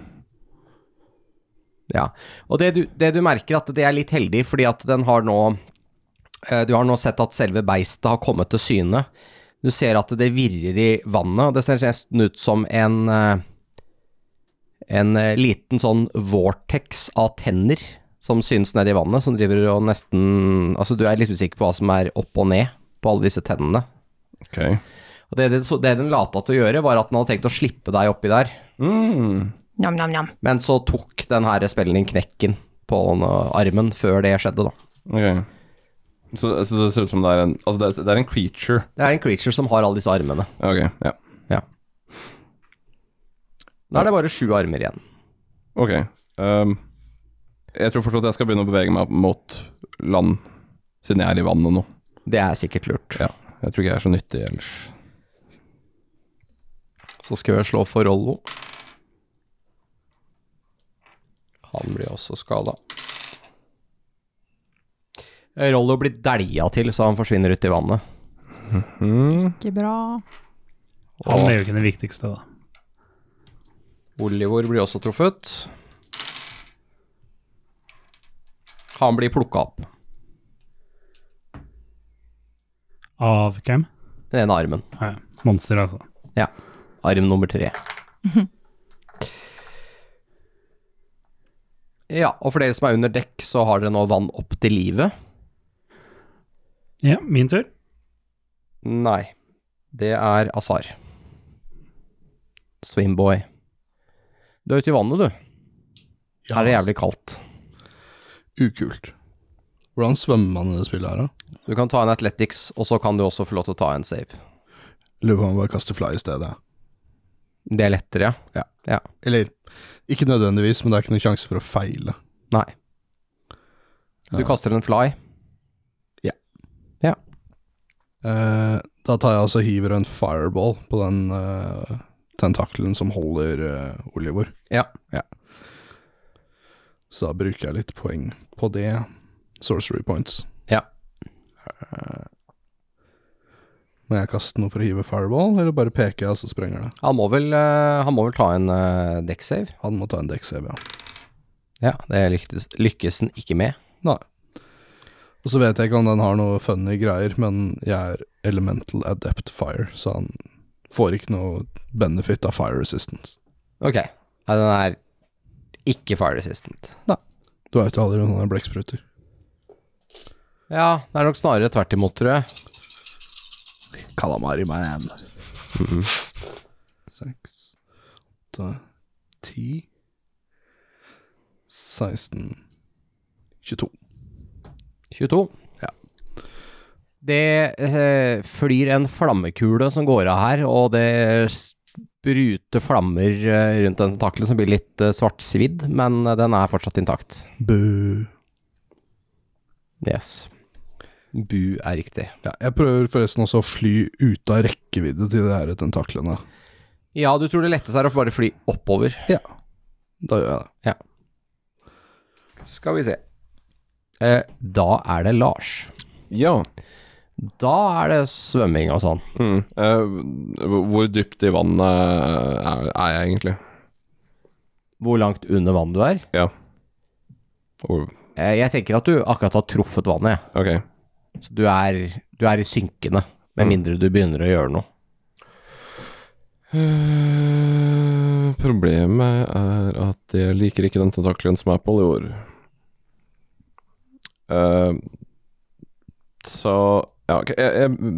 [SPEAKER 3] Ja. Og det du, det du merker at det er litt heldig, fordi at den har nå eh, Du har nå sett at selve beistet har kommet til syne. Du ser at det virrer i vannet, og det ser nesten ut som en eh, En eh, liten sånn vortex av tenner som synes nedi vannet, som driver og nesten Altså, du er litt usikker på hva som er opp og ned på alle disse tennene.
[SPEAKER 6] Ok.
[SPEAKER 3] Og det, det, så det den lata til å gjøre, var at den hadde tenkt å slippe deg oppi der.
[SPEAKER 6] Mm.
[SPEAKER 5] Nam-nam-nam.
[SPEAKER 3] Men så tok den her spellen din knekken på den, uh, armen før det skjedde, da.
[SPEAKER 6] Ok. Så, så det ser ut som det er en Altså, det er, det er en creature.
[SPEAKER 3] Det er en creature som har alle disse armene.
[SPEAKER 6] Ok, ja.
[SPEAKER 3] Da er det bare sju armer igjen.
[SPEAKER 6] Ok. ehm, jeg tror fortsatt jeg skal begynne å bevege meg mot land, siden jeg er i vannet nå.
[SPEAKER 3] Det er sikkert lurt.
[SPEAKER 6] Ja. Jeg tror ikke jeg er så nyttig ellers.
[SPEAKER 3] Så skal vi slå for Rollo. Han blir også skada. Eh, Rollo blir dælja til, så han forsvinner ut i vannet.
[SPEAKER 8] Ikke bra.
[SPEAKER 7] Han er jo ikke den viktigste, da.
[SPEAKER 3] Olivor blir også truffet. Han blir plukka opp.
[SPEAKER 7] Av hvem?
[SPEAKER 3] Den ene armen.
[SPEAKER 7] Nei, Monster, altså.
[SPEAKER 3] Ja. Arm nummer tre. ja, og for dere som er under dekk, så har dere nå vann opp til livet.
[SPEAKER 7] Ja, min tur.
[SPEAKER 3] Nei. Det er Azar. Swimboy. Du er ute i vannet, du. Her
[SPEAKER 4] altså.
[SPEAKER 3] er det jævlig kaldt.
[SPEAKER 4] Ukult. Hvordan svømmer man i det spillet her, da?
[SPEAKER 3] Du kan ta en Athletics, og så kan du også få lov til å ta en save.
[SPEAKER 4] Lurer på om man bare kaster fly i stedet.
[SPEAKER 3] Det er lettere, ja.
[SPEAKER 4] Eller ikke nødvendigvis, men det er ikke noen sjanse for å feile.
[SPEAKER 3] Nei. Du
[SPEAKER 4] Ja.
[SPEAKER 3] kaster en fly.
[SPEAKER 4] Eh, da tar jeg altså hiver en fireball på den eh, tentakelen som holder eh, Olivor.
[SPEAKER 3] Ja.
[SPEAKER 4] Så da bruker jeg litt poeng på det. Sorcery points.
[SPEAKER 3] Ja.
[SPEAKER 4] Eh, må jeg kaste noe for å hive fireball, eller bare peker jeg, og så sprenger det?
[SPEAKER 3] Han må vel, eh, han må vel ta en uh, dekksave.
[SPEAKER 4] Han må ta en dekksave, ja.
[SPEAKER 3] Ja, det lykkes, lykkes han ikke med.
[SPEAKER 4] Og så vet jeg ikke om den har noe funny greier, men jeg er elemental adept fire, så han får ikke noe benefit av fire resistance.
[SPEAKER 3] Ok, ja, den er ikke fire resistant.
[SPEAKER 4] Du veit jo aldri om han er blekkspruter.
[SPEAKER 3] Ja, det er nok snarere tvert imot, tror jeg. Mhm.
[SPEAKER 4] Kalamari man. Seks, åtte, ti 16 22.
[SPEAKER 3] 22.
[SPEAKER 4] Ja.
[SPEAKER 3] Det eh, flyr en flammekule som går av her, og det spruter flammer eh, rundt den tentakelen som blir litt eh, svartsvidd, men eh, den er fortsatt intakt.
[SPEAKER 4] Bø.
[SPEAKER 3] Yes. Bu er riktig.
[SPEAKER 4] Ja, jeg prøver forresten også å fly ut av rekkevidde til de her tentaklene.
[SPEAKER 3] Ja, du tror det letteste er å bare fly oppover.
[SPEAKER 4] Da gjør jeg det.
[SPEAKER 3] Skal vi se. Eh, da er det Lars.
[SPEAKER 6] Ja.
[SPEAKER 3] Da er det svømming og sånn.
[SPEAKER 6] Mm. Eh, hvor dypt i vannet er, er jeg egentlig?
[SPEAKER 3] Hvor langt under vann du er.
[SPEAKER 6] Og-
[SPEAKER 3] Eh, jeg tenker at du akkurat har truffet vannet, jeg.
[SPEAKER 6] Ok.
[SPEAKER 3] Så du er, du er i synkende, med
[SPEAKER 6] Mm.
[SPEAKER 3] mindre du begynner å gjøre noe.
[SPEAKER 6] Eh, problemet er at jeg liker ikke den tentakelen som er på Olivor. Eh, så ja, ok, jeg, jeg,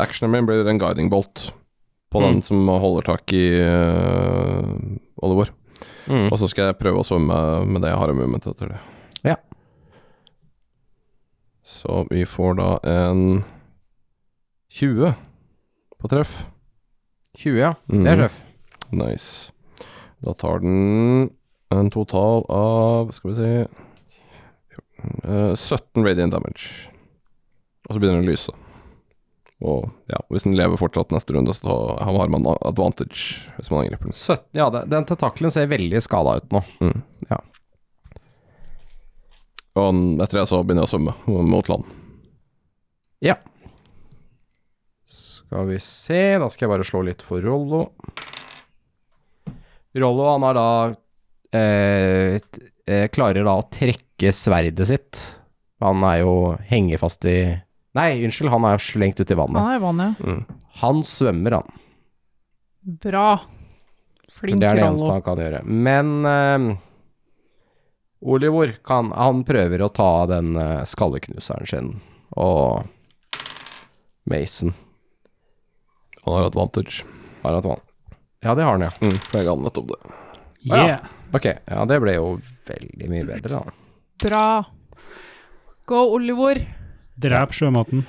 [SPEAKER 6] actionen min blir en guiding bolt på den
[SPEAKER 3] Mm.
[SPEAKER 6] som holder tak i uh, Olivor.
[SPEAKER 3] Mm.
[SPEAKER 6] Og så skal jeg prøve å svømme med det jeg har i movement etter det.
[SPEAKER 3] Ja.
[SPEAKER 6] Så vi får da en 20 på treff.
[SPEAKER 3] 20, ja. Det
[SPEAKER 6] Mhm.
[SPEAKER 3] er tøff.
[SPEAKER 6] Nice. Da tar den en total av Skal vi se 14, eh, 17 radiant damage. Og så begynner den å lyse. Og ja, hvis den lever fortsatt neste runde, så har man advantage hvis man angriper den.
[SPEAKER 3] 17, ja. Den, den tentakelen ser veldig skada ut nå.
[SPEAKER 6] Mm.
[SPEAKER 3] Ja.
[SPEAKER 6] Og den- etter det så begynner jeg å svømme mot land.
[SPEAKER 3] Skal vi se, da skal jeg bare slå litt for Rollo. Rollo, han har da eh, t- eh, Klarer da å trekke sverdet sitt. Han er jo hengefast i Nei, unnskyld, han er jo slengt ut i vannet.
[SPEAKER 8] Han er i vannet.
[SPEAKER 3] Han svømmer, han.
[SPEAKER 8] Bra. Flink
[SPEAKER 3] det er det eneste
[SPEAKER 8] Rollo.
[SPEAKER 3] han kan gjøre. Men eh, Olivor kan, han prøver å ta den eh, skalleknuseren sin og Mason
[SPEAKER 6] Han har advantage.
[SPEAKER 3] har hatt vann. Ja, det har han, ja.
[SPEAKER 6] Mm. for Jeg ga han nettopp det.
[SPEAKER 3] Ja.
[SPEAKER 7] Yeah.
[SPEAKER 3] Ok, ja, det ble jo veldig mye bedre, da.
[SPEAKER 8] Bra. Gå, Olivor.
[SPEAKER 7] Drep sjømaten.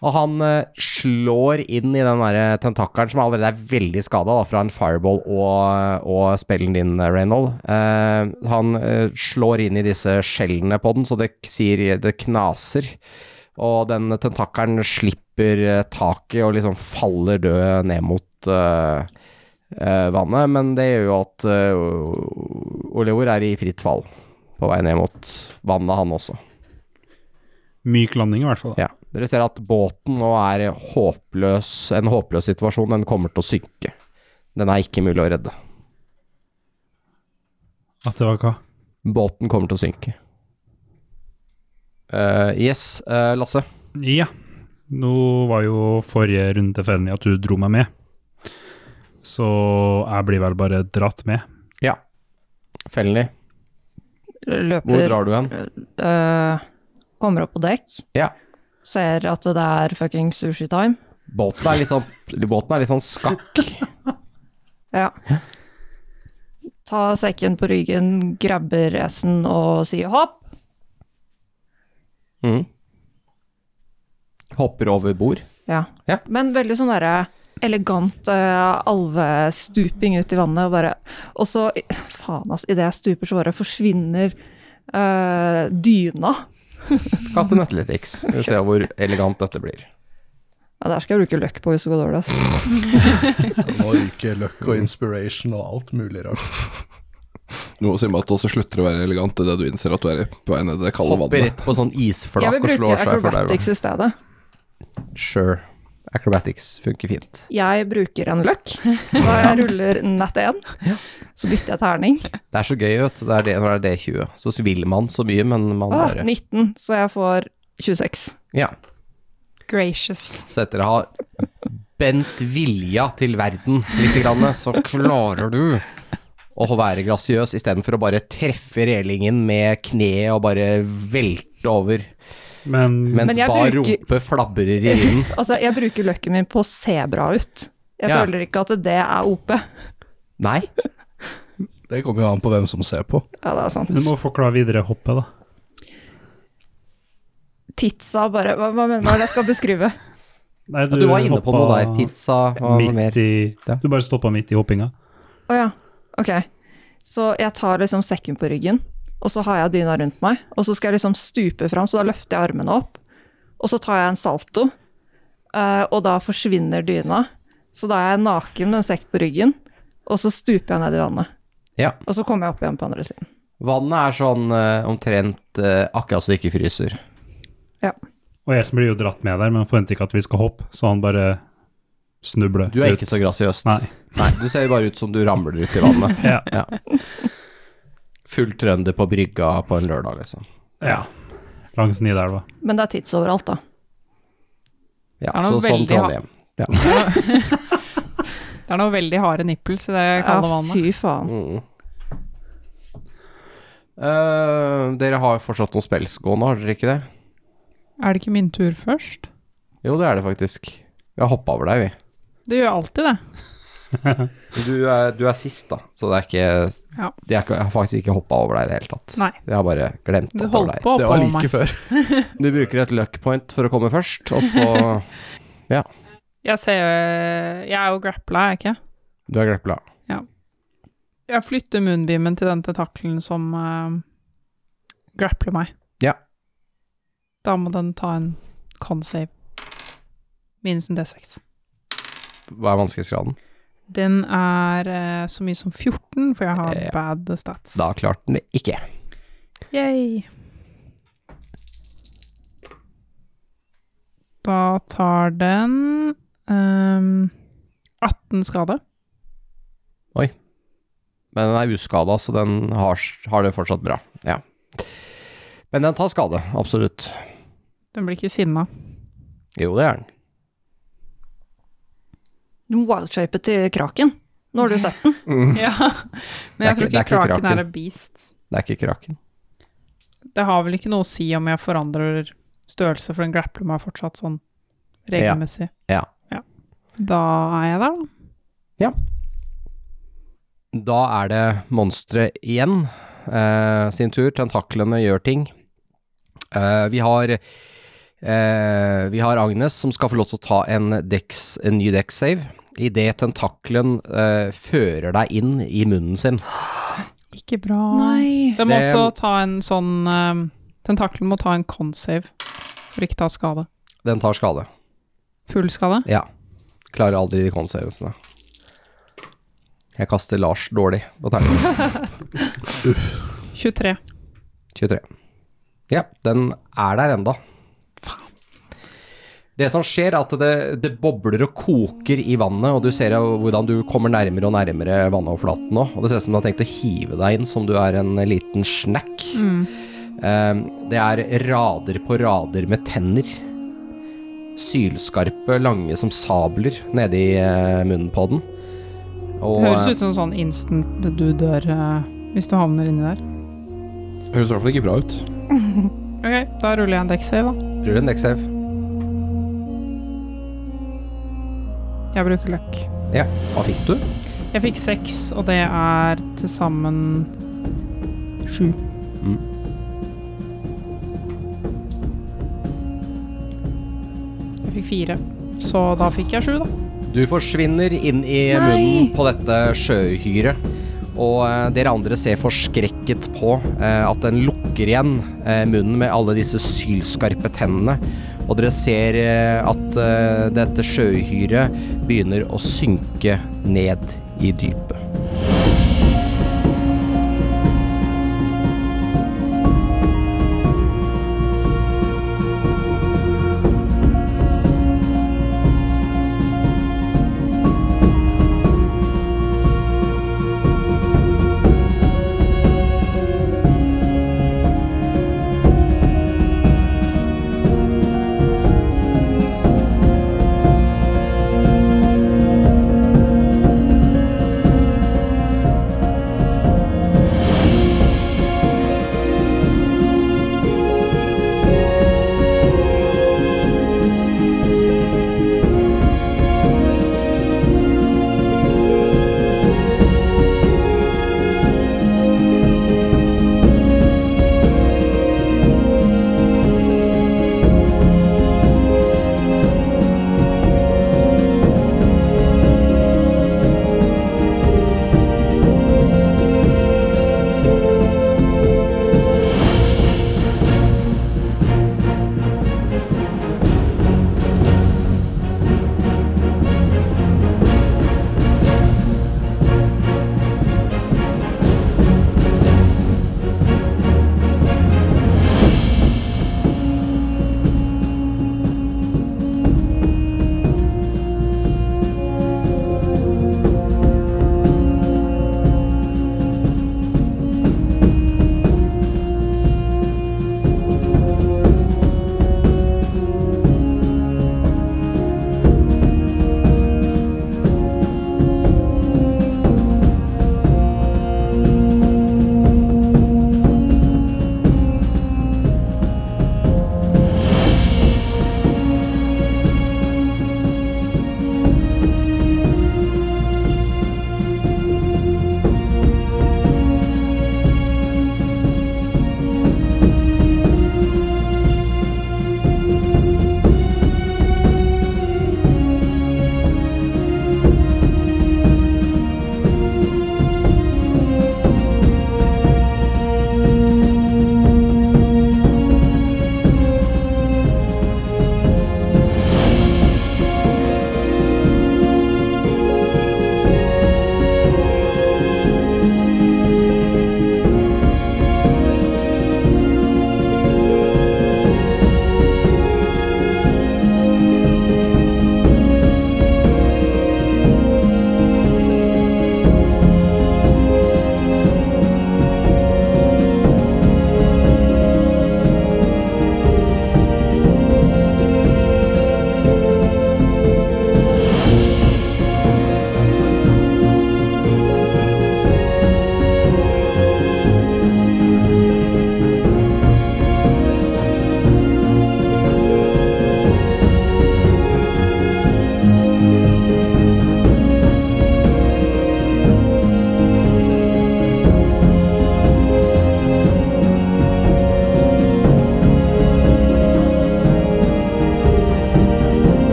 [SPEAKER 3] Og han eh, slår inn i den derre tentakelen som allerede er veldig skada fra en fireball og, og spellen din, eh, Reynold. Eh, han eh, slår inn i disse skjellene på den, så det k- sier det knaser. Og den tentakelen slipper eh, taket og liksom faller død ned mot eh, eh, vannet. Men det gjør jo at uh, Olivor er i fritt fall på vei ned mot vannet, han også.
[SPEAKER 7] Myk landing, i hvert fall.
[SPEAKER 3] Ja. Dere ser at båten nå er håpløs, en håpløs situasjon. Den kommer til å synke. Den er ikke mulig å redde.
[SPEAKER 7] At det var hva?
[SPEAKER 3] Båten kommer til å synke. Eh, yes, eh, Lasse.
[SPEAKER 7] Ja. Nå var jo forrige runde tilfeldig at du dro meg med. Så jeg blir vel bare dratt med.
[SPEAKER 3] Felny, hvor
[SPEAKER 5] Løper
[SPEAKER 3] drar du hen?
[SPEAKER 5] øh, Kommer opp på dekk.
[SPEAKER 3] Ja.
[SPEAKER 5] Ser at det er fucking sushi time.
[SPEAKER 3] Båten er litt sånn, båten er litt sånn skakk.
[SPEAKER 5] Ja. Ta sekken på ryggen, grabber racen og sier hopp.
[SPEAKER 3] Mm. Hopper over bord.
[SPEAKER 5] Ja.
[SPEAKER 3] Ja.
[SPEAKER 5] Men veldig sånn derre elegant eh, alvestuping ut i vannet og bare Og så, faen ass, idet jeg stuper, så bare forsvinner eh, dyna.
[SPEAKER 3] Kast en athletics. Vi ser hvor elegant dette blir.
[SPEAKER 5] Ja, der skal jeg bruke løkk på hvis det går dårlig, ass.
[SPEAKER 4] Nå ryker løkk og inspiration og alt mulig rart.
[SPEAKER 6] Noe sier meg at det også slutter å være elegant idet du innser at du er på vei ned i det kalde
[SPEAKER 3] Hopper
[SPEAKER 6] vannet.
[SPEAKER 3] rett på sånn
[SPEAKER 5] Jeg
[SPEAKER 3] isflak
[SPEAKER 5] vil
[SPEAKER 3] og
[SPEAKER 5] bruke
[SPEAKER 3] slår seg for der.
[SPEAKER 5] acrobatics i stedet.
[SPEAKER 3] Sure. Acrobatics funker fint.
[SPEAKER 5] Jeg bruker en løkk. Da jeg ruller nett én, så bytter jeg terning.
[SPEAKER 3] Det er så gøy, vet du. Det er det, når det er D20. Så vil man så mye, men man
[SPEAKER 5] Åh,
[SPEAKER 3] bare
[SPEAKER 5] 19, så jeg får 26.
[SPEAKER 3] Ja.
[SPEAKER 8] Gracious.
[SPEAKER 3] Så etter å ha bent vilja til verden litt, grann, så klarer du å være grasiøs istedenfor å bare treffe relingen med kneet og bare velte over,
[SPEAKER 7] Men,
[SPEAKER 3] mens
[SPEAKER 5] Men jeg
[SPEAKER 3] bar
[SPEAKER 5] bruker-
[SPEAKER 3] rumpe flabrer i vinden.
[SPEAKER 5] Altså, jeg bruker løkken min på å se bra ut. Jeg
[SPEAKER 3] Ja.
[SPEAKER 5] føler ikke at det er OP.
[SPEAKER 3] Nei,
[SPEAKER 4] Det kommer jo an på hvem som ser på.
[SPEAKER 9] Ja, det er sant.
[SPEAKER 10] Du må forklare videre hoppet, da.
[SPEAKER 9] Titsa bare Hva, hva mener du hva jeg skal beskrive?
[SPEAKER 10] Nei,
[SPEAKER 3] Ja, du var inne på noe der. Tidsa og noe
[SPEAKER 10] Midt
[SPEAKER 3] mer.
[SPEAKER 10] i,
[SPEAKER 3] Ja.
[SPEAKER 10] du bare stoppa midt i hoppinga.
[SPEAKER 5] Å ja, ok. Så jeg tar liksom sekken på ryggen, og så har jeg dyna rundt meg. Og så skal jeg liksom stupe fram, så da løfter jeg armene opp. Og så tar jeg en salto, eh, og da forsvinner dyna. Så da er jeg naken med en sekk på ryggen, og så stuper jeg ned i vannet.
[SPEAKER 3] Ja.
[SPEAKER 5] Og så kommer jeg opp igjen på andre siden.
[SPEAKER 3] Vannet er sånn eh, omtrent eh, akkurat så det ikke fryser.
[SPEAKER 10] Og jeg som blir jo dratt med der, men forventer ikke at vi skal hoppe, så han bare snubler
[SPEAKER 3] Du er ikke så grasiøs.
[SPEAKER 10] Nei.
[SPEAKER 3] Nei, du ser jo bare ut som du ramler ut i vannet.
[SPEAKER 10] Ja.
[SPEAKER 3] Full trønder på brygga på en lørdag, liksom.
[SPEAKER 10] ja. Langs Nidelva.
[SPEAKER 5] Men det er tids overalt, da.
[SPEAKER 3] Ja,
[SPEAKER 8] Det er
[SPEAKER 3] så
[SPEAKER 8] noe
[SPEAKER 3] sånn
[SPEAKER 8] veldig
[SPEAKER 3] Trondheim.
[SPEAKER 8] Det er noen veldig harde nipples i det kalde
[SPEAKER 5] Ja,
[SPEAKER 8] vannet.
[SPEAKER 5] fy faen.
[SPEAKER 3] Mm. Eh, dere har jo fortsatt noen spels gående, har dere ikke det?
[SPEAKER 8] Er det ikke min tur først?
[SPEAKER 3] Jo, det er det faktisk. Vi har hoppa over deg, vi.
[SPEAKER 8] Du gjør alltid det.
[SPEAKER 3] Du er, du er sist, da, så det er ikke
[SPEAKER 8] Ja.
[SPEAKER 3] de er ikke- Jeg har faktisk ikke hoppa over deg i det hele tatt.
[SPEAKER 8] Nei.
[SPEAKER 3] Jeg har bare glemt at
[SPEAKER 8] Du
[SPEAKER 3] det var
[SPEAKER 8] holdt
[SPEAKER 3] deg.
[SPEAKER 8] på å
[SPEAKER 4] Det var like
[SPEAKER 8] oppholde meg.
[SPEAKER 4] før.
[SPEAKER 3] Du bruker et luck point for å komme først, og så
[SPEAKER 8] Jeg ser eh, Jeg er jo grappla, er jeg ikke?
[SPEAKER 3] Du er glepla.
[SPEAKER 8] Jeg flytter munnbimen til den tentakelen som eh, grappler meg.
[SPEAKER 3] Ja.
[SPEAKER 8] Da må den ta en con-save. Minus en D6.
[SPEAKER 3] Hva er vanskelighetsgraden?
[SPEAKER 8] Den er eh, så mye som 14, for jeg har
[SPEAKER 3] Ja.
[SPEAKER 8] bad stats.
[SPEAKER 3] Da klarte den det ikke.
[SPEAKER 8] Yay. Da tar den ehm, 18 skade.
[SPEAKER 3] Men den er uskada, så den har, har det fortsatt bra. Ja. Men den tar skade, absolutt.
[SPEAKER 8] Den blir ikke sinna.
[SPEAKER 3] Jo, det er den.
[SPEAKER 5] Du wildshapet til kraken. Nå har du sett den.
[SPEAKER 8] Ja. Men
[SPEAKER 3] Det er
[SPEAKER 8] jeg tror
[SPEAKER 3] ikke- det er
[SPEAKER 8] ikke
[SPEAKER 3] ikke
[SPEAKER 8] kraken
[SPEAKER 3] kraken.
[SPEAKER 8] er et beast.
[SPEAKER 3] Det er ikke kraken.
[SPEAKER 8] Det har vel ikke noe å si om jeg forandrer størrelse, for den grappler meg fortsatt sånn regelmessig.
[SPEAKER 3] Ja.
[SPEAKER 8] Da er jeg der, da.
[SPEAKER 3] Da er det monsteret igjen eh, sin tur. Tentaklene gjør ting. Eh, vi har eh, Vi har Agnes som skal få lov til å ta en, dex, en ny dex-save. Idet tentaklen eh, fører deg inn i munnen sin.
[SPEAKER 8] Ikke bra.
[SPEAKER 5] Nei.
[SPEAKER 8] Den må
[SPEAKER 3] Det-
[SPEAKER 8] også ta en sånn ehm, Tentakelen må ta en con-save for ikke ta skade.
[SPEAKER 3] Den tar skade.
[SPEAKER 8] Full skade.
[SPEAKER 3] Ja. Klarer aldri de konsevensene. Jeg kaster Lars dårlig på terningen.
[SPEAKER 8] 23.
[SPEAKER 3] 23. Ja, den er der enda. Det som skjer er at det, det bobler og koker i vannet, og du ser jo hvordan du kommer nærmere og nærmere vannoverflaten nå. Og det ser ut som du har tenkt å hive deg inn som du er en liten snack.
[SPEAKER 8] Mm.
[SPEAKER 3] Eh, Det er rader på rader med tenner. Sylskarpe, lange som sabler nedi eh, munnen på den. Og,
[SPEAKER 6] eh,
[SPEAKER 8] Det høres ut som sånn instant du dør eh, hvis du havner inni der.
[SPEAKER 6] Høres i hvert fall ikke bra ut.
[SPEAKER 8] Ok, da ruller jeg en dekksave, da.
[SPEAKER 3] Rull eh, en dekksave.
[SPEAKER 8] Jeg bruker løkk.
[SPEAKER 3] Ja, hva fikk du?
[SPEAKER 8] Jeg fikk seks, og det er til sammen sju. Jeg fikk fire, så da fikk jeg sju, da.
[SPEAKER 3] Du forsvinner inn i munnen på dette sjøuhyret. Og eh, dere andre ser forskrekket på eh, at den lukker igjen eh, munnen med alle disse sylskarpe tennene. Og dere ser eh, at eh, dette sjøuhyret begynner å synke ned i dypet.